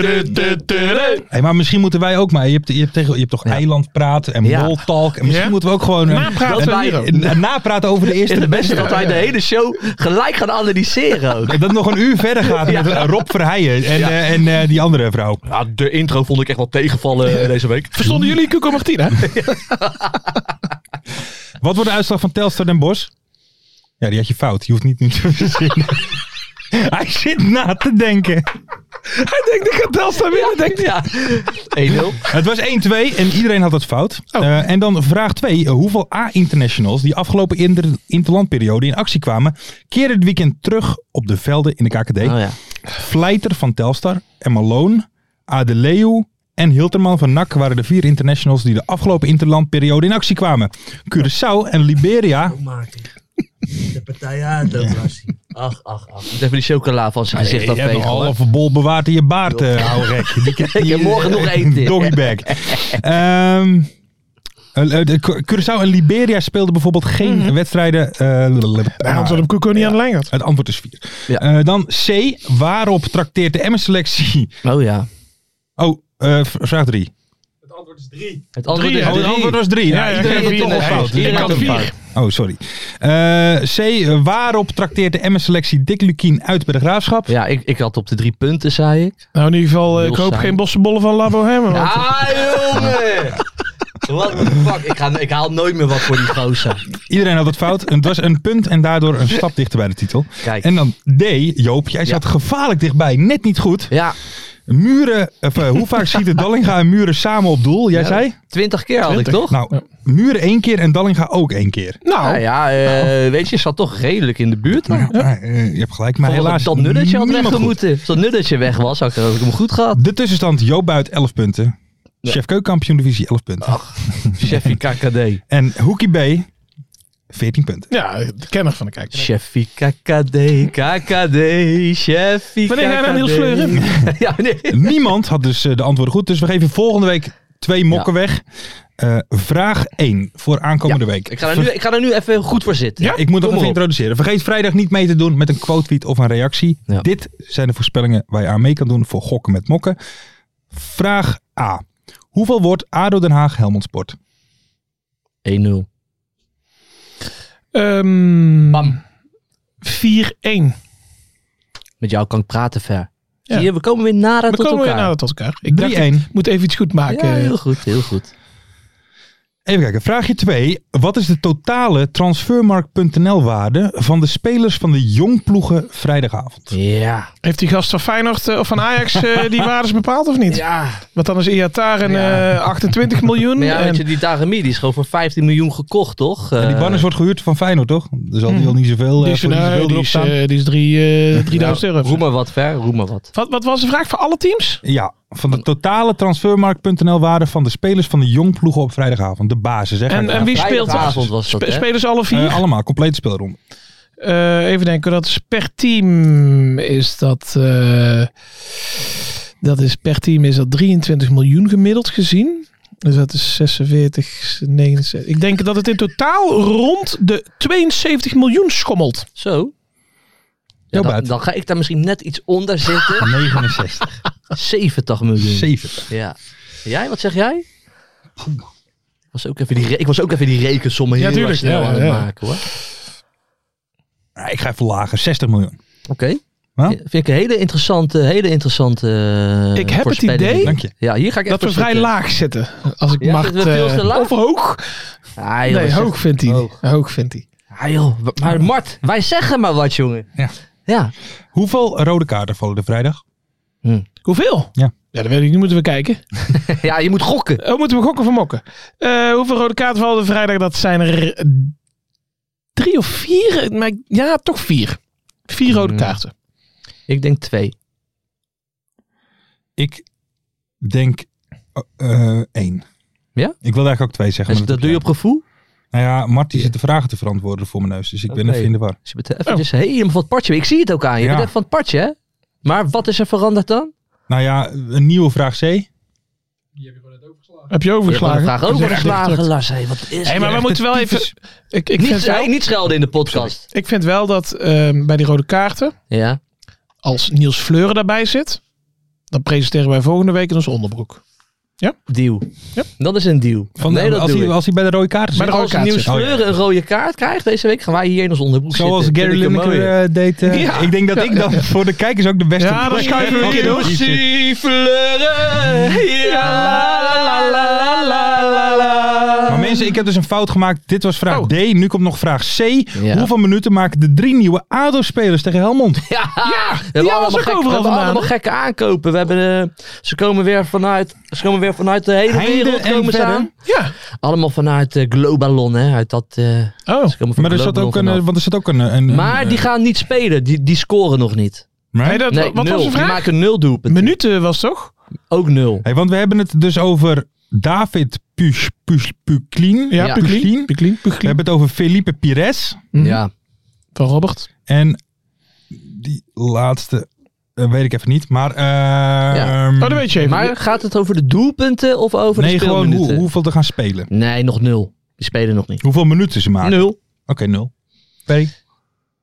Speaker 4: fleuren.
Speaker 3: Hey, maar misschien moeten wij ook maar. Je hebt, je hebt, tegen, je hebt toch eilandpraat en
Speaker 4: Ja.
Speaker 3: moltalk. En misschien
Speaker 5: Ja.
Speaker 3: moeten we ook gewoon. eh,
Speaker 5: Napraten
Speaker 3: en-
Speaker 4: wij
Speaker 3: en-
Speaker 4: ook.
Speaker 3: en- en napraten over de eerste de
Speaker 4: Het beste
Speaker 3: beste.
Speaker 4: dat wij de hele show gelijk gaan analyseren ook.
Speaker 3: En dat nog een uur verder gaat met eh, Rob Verheijen en,
Speaker 4: Ja.
Speaker 3: eh, en eh, die andere vrouw.
Speaker 4: de intro vond ik echt wel tegenvallen eh, deze week.
Speaker 5: Verstonden jullie Cuco Martina?
Speaker 3: Wat wordt de uitslag van Telstar Den Bos? Ja, die had je fout. Je hoeft niet nu te verzinnen. Hij zit na te denken.
Speaker 5: Hij denkt, ik ga Telstar winnen. Denkt hij.
Speaker 4: Ja, 1-0.
Speaker 3: Het was 1-2 en iedereen had het fout.
Speaker 5: Oh.
Speaker 3: Eh, en dan vraag 2. hoeveel A-internationals die afgelopen inter interlandperiode in actie kwamen, keren dit weekend terug op de velden in de KKD?
Speaker 4: Oh ja.
Speaker 3: Vlijter van Telstar en Malone, Adeleu en Hilterman van NAC waren de vier internationals die de afgelopen interlandperiode in actie kwamen. Curaçao en Liberia.
Speaker 4: De partij uit, Ach, ach, ach. Moet even die chocola van zijn gezicht
Speaker 3: Eh, je hebt een
Speaker 4: afvegen. hoor.
Speaker 3: halve bol bewaard in je baard, eh ouwe gek. Die, eh, kan-
Speaker 4: Ik heb morgen nog eten.
Speaker 3: Doggybag. Ehm, eh, eh, de Cu- Curaçao en Liberia speelden bijvoorbeeld geen
Speaker 4: Mhm.
Speaker 3: wedstrijden. eh, lululul.
Speaker 5: Anders had hem Cuco niet aan de lijn gehad.
Speaker 3: het antwoord is 4.
Speaker 4: Ja.
Speaker 3: dan C. Waarop trakteert de M-selectie?
Speaker 4: Oh ja.
Speaker 3: Oh, eh, v- vraag 3.
Speaker 4: Het antwoord
Speaker 5: Drie,
Speaker 4: is
Speaker 3: Oh, het
Speaker 4: drie.
Speaker 5: hè?
Speaker 4: Nou,
Speaker 3: antwoord was 3.
Speaker 5: Ja, ja,
Speaker 3: iedereen
Speaker 5: ja,
Speaker 3: heeft
Speaker 5: ja,
Speaker 3: toch al
Speaker 5: ja, ja,
Speaker 3: fout.
Speaker 5: ja,
Speaker 3: Dus
Speaker 5: ja,
Speaker 3: ik
Speaker 5: ja,
Speaker 3: had
Speaker 5: ja,
Speaker 3: hem
Speaker 5: ja,
Speaker 3: fout. Oh, sorry. Eh, C. Waarop trakteert de M-selectie Dick Lukien uit bij de graafschap?
Speaker 4: Ja, ik, ik had op de drie punten, zei ik.
Speaker 5: Nou, in ieder geval, eh,
Speaker 4: Heel
Speaker 5: ik hoop
Speaker 4: saai.
Speaker 5: geen bossenbollen van Labo Hemmen.
Speaker 4: Ah, jongen! What the fuck? Ik, ga, ik haal nooit meer wat voor die gozer.
Speaker 3: Iedereen had het fout. En Het was een punt en daardoor een stap dichter bij de titel.
Speaker 4: Kijk.
Speaker 3: En dan D, Joop, jij zat gevaarlijk dichtbij. Net niet goed.
Speaker 4: Ja,
Speaker 3: Muren, of, eh, hoe vaak schieten Dallinga en Muren samen op doel? Jij
Speaker 4: Ja.
Speaker 3: zei?
Speaker 4: twintig keer had ik, toch?
Speaker 3: Nou, Muren één keer en Dallinga ook één keer.
Speaker 4: Nou, ja, eh, weet je, ik zat toch redelijk in de buurt. Dan.
Speaker 3: Maar, eh, je hebt gelijk, maar
Speaker 4: Toch
Speaker 3: helaas
Speaker 4: dat nulletje had
Speaker 3: niemand
Speaker 4: weg
Speaker 3: goed.
Speaker 4: moeten. Als dat nulletje weg was, had ik, had ik hem goed gehad.
Speaker 3: De tussenstand, Joop buit 11 punten. Chef keukenkampioen divisie 11
Speaker 4: Ah.
Speaker 3: punten.
Speaker 4: Chefie KKD.
Speaker 3: En Hoekie B 14 punten.
Speaker 5: Ja, de kenner van de kijker.
Speaker 4: Chefie KKD, KKD, Chefie
Speaker 5: Wanneer ga je dan heel sleuren?
Speaker 4: ja, nee.
Speaker 3: Niemand had dus eh, de antwoorden goed. Dus we geven volgende week twee mokken weg. Eh, vraag 1 voor aankomende week.
Speaker 4: Ik ga, er nu, ik ga er nu even goed voor zitten.
Speaker 3: Ja, ik moet dat even
Speaker 4: Kom maar op.
Speaker 3: introduceren. Vergeet vrijdag niet mee te doen met een quote tweet of een reactie.
Speaker 4: Ja.
Speaker 3: Dit zijn de voorspellingen waar je aan mee kan doen voor gokken met mokken. Vraag A. Hoeveel wordt ADO Den Haag Helmond Sport?
Speaker 4: 1-0.
Speaker 5: Ehm,
Speaker 4: Bam.
Speaker 5: 4-1.
Speaker 4: Met jou kan ik praten ver.
Speaker 5: Ja.
Speaker 4: Zie je, we komen weer nader
Speaker 5: We
Speaker 4: tot
Speaker 5: komen weer
Speaker 4: elkaar.
Speaker 5: nader tot elkaar. Ik dacht,
Speaker 3: 3-1.
Speaker 5: ik moet even iets goed maken.
Speaker 4: Ja, heel goed, heel goed.
Speaker 3: Even kijken. Vraagje 2. Wat is de totale transfermarkt.nl waarde van de spelers van de jongploegen vrijdagavond?
Speaker 4: Ja.
Speaker 5: Heeft die gast van Feyenoord eh, of van Ajax eh, die waardes bepaald of niet?
Speaker 4: Ja.
Speaker 5: Want dan is Iatar een eh, 28 miljoen.
Speaker 4: Maar ja,
Speaker 5: en-
Speaker 4: weet je, die Taremi, die is gewoon voor 15 miljoen gekocht, toch? Eh,
Speaker 3: En die banners wordt gehuurd van Feyenoord, toch? Er zal die al niet zoveel,
Speaker 5: Eh, hmm. die
Speaker 3: eh,
Speaker 5: is,
Speaker 3: voor niet
Speaker 5: nou,
Speaker 3: zoveel
Speaker 5: die
Speaker 3: erop
Speaker 5: is,
Speaker 3: staan.
Speaker 5: eh, die is drie,
Speaker 4: Nou,
Speaker 5: eh, 3000 euro.
Speaker 4: Roem maar wat, ver, roem maar wat.
Speaker 5: Wat, wat was de vraag voor alle teams?
Speaker 3: Ja, van de totale transfermarkt.nl waarde van de spelers van de jongploegen op vrijdagavond. De basis, hè? Ga
Speaker 5: En,
Speaker 3: ik
Speaker 5: en wie speelt dat?
Speaker 4: Vrijdagavond was dat,
Speaker 5: Spe-
Speaker 4: hè?
Speaker 5: Spelen ze alle vier?
Speaker 3: Eh, allemaal, complete speelronde.
Speaker 5: Eh, even denken, dat is per team is dat. eh, dat is per team is dat 23 miljoen gemiddeld gezien. Dus dat is 46, 69. Ik denk dat het in totaal rond de 72 miljoen schommelt.
Speaker 4: Zo.
Speaker 3: Jouw
Speaker 4: Ja, dan,
Speaker 3: buiten.
Speaker 4: dan ga ik daar misschien net iets onder zitten.
Speaker 3: 69.
Speaker 4: 70 miljoen.
Speaker 3: 70.
Speaker 4: Ja. Jij, wat zeg jij? Ik was ook even die, re- ik was ook even die rekensommen heel
Speaker 5: tuurlijk,
Speaker 4: snel
Speaker 5: ja,
Speaker 4: aan het
Speaker 5: ja.
Speaker 4: maken, hoor.
Speaker 3: ik ga even lager, 60 miljoen. Huh?
Speaker 4: Vind ik een hele interessante, hele interessante eh,
Speaker 5: Ik heb het
Speaker 4: voorspelling.
Speaker 5: idee
Speaker 3: Dank je.
Speaker 4: Ja, hier ga ik
Speaker 5: Dat we
Speaker 4: even
Speaker 5: vrij
Speaker 4: zitten.
Speaker 5: laag zitten. Als ik
Speaker 4: Ja,
Speaker 5: mag.
Speaker 4: zitten we veel
Speaker 5: eh,
Speaker 4: te laag?
Speaker 5: Of hoog.
Speaker 4: Ah, joh,
Speaker 5: Nee,
Speaker 4: zeg-
Speaker 5: hoog vindt hij.
Speaker 4: Hoog.
Speaker 5: Hoog vindt hij.
Speaker 4: Ah, joh, w- maar Mart, wij zeggen maar wat, jongen.
Speaker 3: Ja.
Speaker 4: Ja,
Speaker 3: Hoeveel rode kaarten vallen er vrijdag?
Speaker 5: Hoeveel?
Speaker 3: Ja.
Speaker 5: Ja, dat weet ik niet. Moeten we kijken.
Speaker 4: ja je moet gokken.
Speaker 5: Oh, moeten we gokken van mokken? Eh, hoeveel rode kaarten vallen er vrijdag? Dat zijn er eh, drie of vier. Maar ik- ja, toch vier. Vier rode
Speaker 4: Ja.
Speaker 5: kaarten.
Speaker 4: Ik denk twee.
Speaker 3: Ik denk eh, eh, één.
Speaker 4: Ja?
Speaker 3: Ik wil eigenlijk ook twee zeggen.
Speaker 4: Dus
Speaker 3: maar
Speaker 4: dat doe je op gevoel?
Speaker 3: Nou ja, Mart die zit de vragen te verantwoorden voor mijn neus, dus ik ben
Speaker 4: Oké.
Speaker 3: even in de war.
Speaker 4: Dus je bent eventjes helemaal van het partje. Ik zie het ook aan je. Je
Speaker 3: Ja.
Speaker 4: bent even van het partje, hè? Maar wat is er veranderd dan?
Speaker 3: Nou ja, een nieuwe vraag C.
Speaker 5: Heb je
Speaker 4: Je hebt gewoon
Speaker 5: overgeslagen?
Speaker 4: een vraag
Speaker 5: Dat is
Speaker 4: over
Speaker 5: echt
Speaker 4: geslagen,
Speaker 5: druk.
Speaker 4: Lars. Hé, wat is
Speaker 5: Hé, maar we
Speaker 4: dit?
Speaker 5: moeten wel even...
Speaker 3: tyfus.
Speaker 5: Ik, ik, vind
Speaker 4: Niet,
Speaker 5: wel,
Speaker 4: hey, niet schelden in de podcast.
Speaker 5: ik vind wel dat ehm, bij die rode kaarten...
Speaker 4: Ja.
Speaker 5: als Niels Fleuren daarbij zit... dan presenteren wij volgende week in ons onderbroek.
Speaker 4: Deal.
Speaker 5: Ja.
Speaker 4: Dat is een deal.
Speaker 3: Van,
Speaker 4: nee, dat
Speaker 3: als,
Speaker 4: doe
Speaker 3: hij,
Speaker 4: ik.
Speaker 3: als hij bij de rode kaarten
Speaker 5: Maar
Speaker 3: zit.
Speaker 5: de rode
Speaker 4: Als
Speaker 5: kaart
Speaker 4: Nieuws
Speaker 5: zit.
Speaker 4: Fleuren een rode kaart krijgt deze week, gaan wij hier in ons onderbroek
Speaker 3: Zoals
Speaker 4: zitten.
Speaker 3: Gary
Speaker 4: Oh, Vind ik een
Speaker 3: Lineker
Speaker 4: mooie.
Speaker 3: eh, deed. eh,
Speaker 5: Ja.
Speaker 3: Ik denk dat ik dan voor de kijkers ook de beste Oh,
Speaker 5: Ja, dan schuiven we
Speaker 3: Als
Speaker 5: weer
Speaker 3: hij
Speaker 5: door.
Speaker 3: hier zit. Maar mensen, ik heb dus een fout gemaakt. Dit was vraag
Speaker 5: Oh.
Speaker 3: D, nu komt nog vraag C. Hoeveel minuten maken de drie nieuwe ADO-spelers tegen Helmond?
Speaker 4: Ja, we hebben
Speaker 5: was
Speaker 4: allemaal gek-
Speaker 5: ook overal
Speaker 4: we hebben
Speaker 5: vandaan,
Speaker 4: allemaal
Speaker 5: hè?
Speaker 4: gekke aankopen. We hebben, eh, ze, komen weer vanuit, ze komen weer vanuit de hele
Speaker 3: Heinde
Speaker 4: wereld
Speaker 3: en
Speaker 4: komen ze
Speaker 3: verder.
Speaker 4: aan.
Speaker 5: Ja.
Speaker 4: Allemaal vanuit eh, Globalon, hè, uit dat... eh,
Speaker 5: Oh.
Speaker 4: ze komen van
Speaker 3: Maar er zat
Speaker 4: Globalon
Speaker 3: ook een,
Speaker 4: vanaf.
Speaker 3: eh, want er zat ook een... een
Speaker 4: Maar die gaan niet spelen, die, die scoren nog niet.
Speaker 5: Nee, dat,
Speaker 4: Nee,
Speaker 5: wat
Speaker 4: nul.
Speaker 5: was de
Speaker 4: Die
Speaker 5: vraag?
Speaker 4: maken nul doelpunten.
Speaker 5: Minuten was toch?
Speaker 4: Ook nul.
Speaker 3: Hey, want we hebben het dus over David Puch, Puch, Puklin.
Speaker 5: Ja,
Speaker 4: Ja.
Speaker 5: Puglin.
Speaker 3: Puklin.
Speaker 5: Puglin.
Speaker 3: We hebben het over Felipe Pires.
Speaker 4: Ja.
Speaker 5: Van Robert.
Speaker 3: En die laatste eh, weet ik even niet. Maar... eh,
Speaker 4: Ja.
Speaker 5: Oh, dat weet je even.
Speaker 4: Maar gaat het over de doelpunten of over
Speaker 3: nee,
Speaker 4: de
Speaker 3: gewoon
Speaker 4: speelminuten?
Speaker 3: hoe, hoeveel te gaan spelen.
Speaker 4: Nee, nog nul. Die spelen nog niet.
Speaker 3: Hoeveel minuten ze maken.
Speaker 4: Nul.
Speaker 3: Oké, nul. P.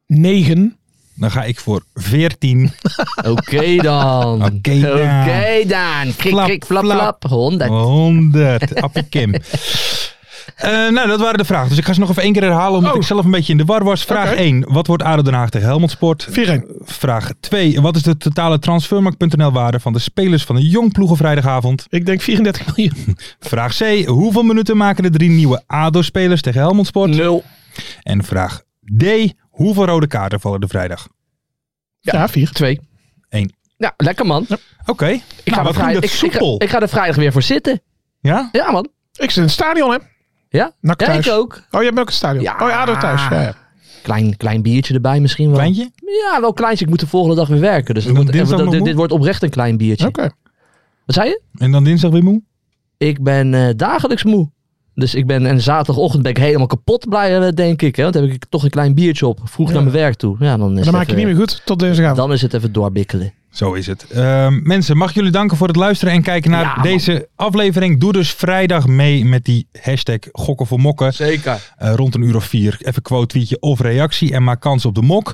Speaker 5: 9.
Speaker 3: Dan ga ik voor 14.
Speaker 4: Oké dan.
Speaker 3: Oké dan.
Speaker 4: Oké dan. Krik,
Speaker 3: Flap,
Speaker 4: krik, flap,
Speaker 3: flap. Oh.
Speaker 4: flap. 100.
Speaker 3: 100. Appie Kim. Eh, nou, dat waren de vragen. Dus ik ga ze nog even één keer herhalen, omdat
Speaker 5: Oh.
Speaker 3: ik zelf een beetje in de war was. Vraag
Speaker 5: Oké.
Speaker 3: 1. Wat wordt ADO Den Haag tegen Helmond Sport? Eh,
Speaker 5: 4
Speaker 3: Vraag 2. Wat is de totale transfermarkt.nl waarde van de spelers van de jong ploegen vrijdagavond?
Speaker 5: Ik denk 34 miljoen.
Speaker 3: Vraag C. Hoeveel minuten maken de drie nieuwe ADO-spelers tegen Helmond Sport?
Speaker 4: Nul.
Speaker 3: En vraag D. Hoeveel rode kaarten vallen er vrijdag?
Speaker 5: Ja, 4.
Speaker 4: Twee.
Speaker 3: Eén.
Speaker 4: Ja, lekker man.
Speaker 3: Oké.
Speaker 4: Ik,
Speaker 3: Nou,
Speaker 4: ga
Speaker 3: wat
Speaker 4: er
Speaker 3: ging
Speaker 4: vrij-
Speaker 3: dat
Speaker 4: ik, ik, ga,
Speaker 3: soepel.
Speaker 4: ik ga er vrijdag weer voor zitten.
Speaker 3: Ja?
Speaker 4: Ja man.
Speaker 5: Ik zit in het stadion, hè?
Speaker 4: Ja,
Speaker 5: Nak
Speaker 4: ja
Speaker 5: thuis.
Speaker 4: ik ook.
Speaker 5: Oh, jij bent ook in het stadion.
Speaker 4: Ja.
Speaker 5: Oh ja, ADO thuis. Ja, ja.
Speaker 4: Klein, klein biertje erbij misschien wel.
Speaker 3: Kleintje?
Speaker 4: Ja, wel kleintje. Ik moet de volgende dag weer werken. Dus
Speaker 3: En dan
Speaker 4: het wordt-
Speaker 3: dinsdag
Speaker 4: dit,
Speaker 3: nog
Speaker 4: dit,
Speaker 3: moe?
Speaker 4: dit wordt oprecht een klein biertje.
Speaker 5: Oké.
Speaker 4: Wat zei je?
Speaker 3: En dan dinsdag weer moe?
Speaker 4: Ik ben eh, dagelijks moe. Dus ik ben, en zaterdagochtend ben ik helemaal kapot blij, eh, denk ik. Hè? Want dan heb ik toch een klein biertje op. Vroeg naar mijn werk toe. Ja, dan is
Speaker 5: Maar
Speaker 4: het
Speaker 5: Dan maak je
Speaker 4: even- eh,
Speaker 5: niet meer goed tot deze avond.
Speaker 4: Dan is het even doorbikkelen.
Speaker 3: Zo is het. Ehm, mensen, mag ik jullie danken voor het luisteren en kijken naar
Speaker 4: Ja, man.
Speaker 3: deze aflevering. Doe dus vrijdag mee met die hashtag gokken voor mokken.
Speaker 4: Zeker.
Speaker 3: Eh, rond een uur of vier. Even quote, tweetje of reactie en maak kans op de mok.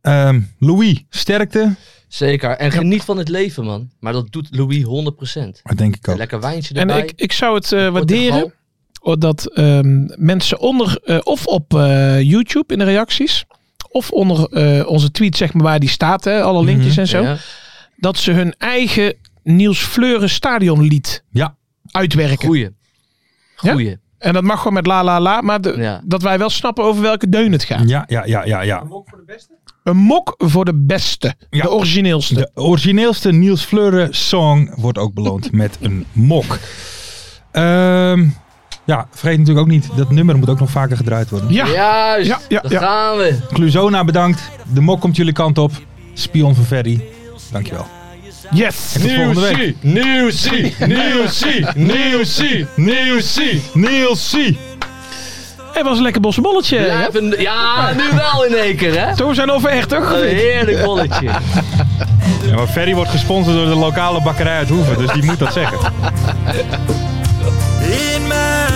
Speaker 3: Ehm, Louis, sterkte.
Speaker 4: Zeker. En geniet van het leven, man. Maar dat doet Louis 100%.
Speaker 3: Dat denk ik
Speaker 4: Een
Speaker 3: ook.
Speaker 4: lekker wijntje
Speaker 5: En
Speaker 4: erbij.
Speaker 5: ik, ik zou het eh,
Speaker 4: Portugal.
Speaker 5: waarderen oh, dat ehm, mensen onder eh, of op eh, YouTube in de reacties of onder eh, onze tweet zeg maar waar die staat, hè, alle linkjes en zo,
Speaker 4: Mhm. Ja.
Speaker 5: dat ze hun eigen Niels Fleuren stadionlied
Speaker 3: Ja.
Speaker 5: uitwerken.
Speaker 4: Goeie.
Speaker 5: Ja?
Speaker 4: Goeie.
Speaker 5: En dat mag gewoon met la la la, maar de-
Speaker 4: Ja.
Speaker 5: dat wij wel snappen over welke deun het gaat.
Speaker 3: Ja, ja, ja, ja, ja.
Speaker 5: Een mok voor de beste,
Speaker 3: Ja.
Speaker 5: de origineelste.
Speaker 3: De origineelste Niels Fleuren song wordt ook beloond met een mok. Ehm, ja, vergeet natuurlijk ook niet, dat nummer moet ook nog vaker gedraaid worden.
Speaker 5: Ja.
Speaker 4: Juist.
Speaker 5: Ja, ja,
Speaker 4: Daar
Speaker 5: ja.
Speaker 4: gaan we.
Speaker 3: Cluzona bedankt. De mok komt jullie kant op. Spion van Ferry. Dankjewel.
Speaker 5: Yes.
Speaker 3: En tot volgende week. Nieuw C, Nieuw C, Nieuw C, Nieuw C, Nieuw C.
Speaker 5: Het was een lekker bossenbolletje.
Speaker 4: Ja,
Speaker 5: hè?
Speaker 4: even- ja, nu wel in één keer, hè?
Speaker 5: Toen zijn over echt toch?
Speaker 4: Een heerlijk bolletje.
Speaker 3: Ja, maar Ferry wordt gesponsord door de lokale bakkerij uit Hoeven, dus die moet dat zeggen.
Speaker 9: in mij.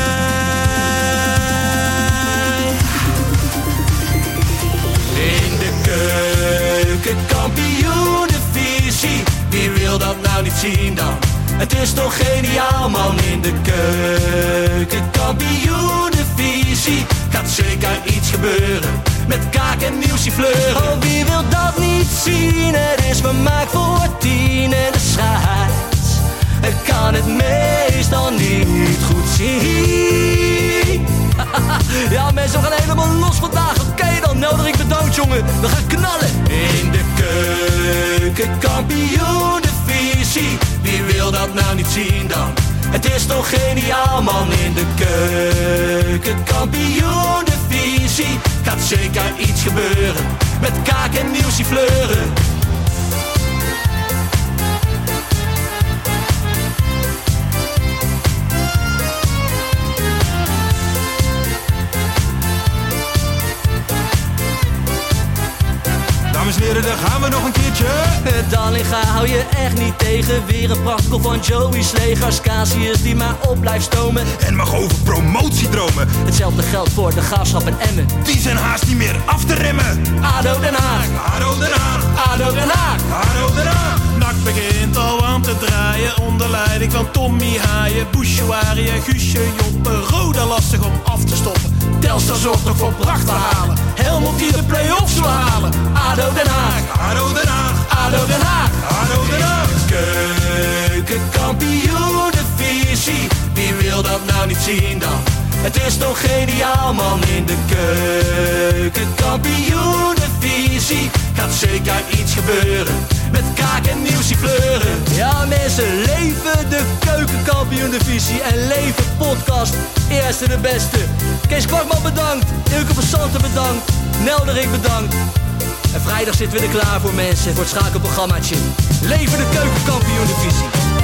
Speaker 9: In de keuken, kampioenenvisie. Wie wil dat nou niet zien dan? Het is toch geniaal man in de keuken, kampioenenvisie. Gaat zeker iets gebeuren, Met kaak en nieuwsje fleuren. Oh, wie wil dat niet zien? Het is vermaakt voor tien en de scheids. Ik kan het meestal niet goed zien. Ja, mensen, we gaan helemaal los vandaag. Oké, dan nodig ik de dood, jongen. We gaan knallen. In de keuken, kampioen, de visie. Wie wil dat nou niet zien dan? Het is toch geniaal, man. In de keuken, kampioen, de visie. Gaat zeker iets gebeuren. Met kaak en nieuwsie fleuren.
Speaker 1: Dames en heren, daar gaan we nog een keertje.
Speaker 9: Dallinga hou je echt niet tegen. Weer een prachtkel van Joey's legers. Casius die maar op blijft stomen.
Speaker 1: En mag over promotiedromen.
Speaker 9: Hetzelfde geldt voor de graafschap en Emmen.
Speaker 1: Die zijn haast niet meer af te remmen.
Speaker 9: ADO Den Haag,
Speaker 1: Haro Den Haag,
Speaker 9: ADO Den Haag.
Speaker 1: Haro Den Haag.
Speaker 2: Nak begint al aan te draaien onder leiding van Tommy Haaien, Bouchouari en Guusje Joppen. Roda lastig om af te stoppen.
Speaker 9: Telstar zorgt nog voor pracht te halen. Helmond die de play-offs wil halen. ADO Den Haag,
Speaker 1: Haro Den Haag,
Speaker 9: ADO Den Haag.
Speaker 1: Haro Den Haag.
Speaker 9: Keukenkampioenenvisie, wie wil dat nou niet zien dan? Het is toch geniaal man in de keukenkampioenenvisie. Gaat zeker iets gebeuren, met kaak en nieuwsie kleuren. Ja mensen, leven de keukenkampioenenvisie en leven podcast. Eerste de beste. Kees Kwakman bedankt, Ilke van Santen bedankt, Nelderik bedankt. En vrijdag zitten we er klaar voor mensen voor het schakelprogrammaatje. Leven de keukenkampioen divisie.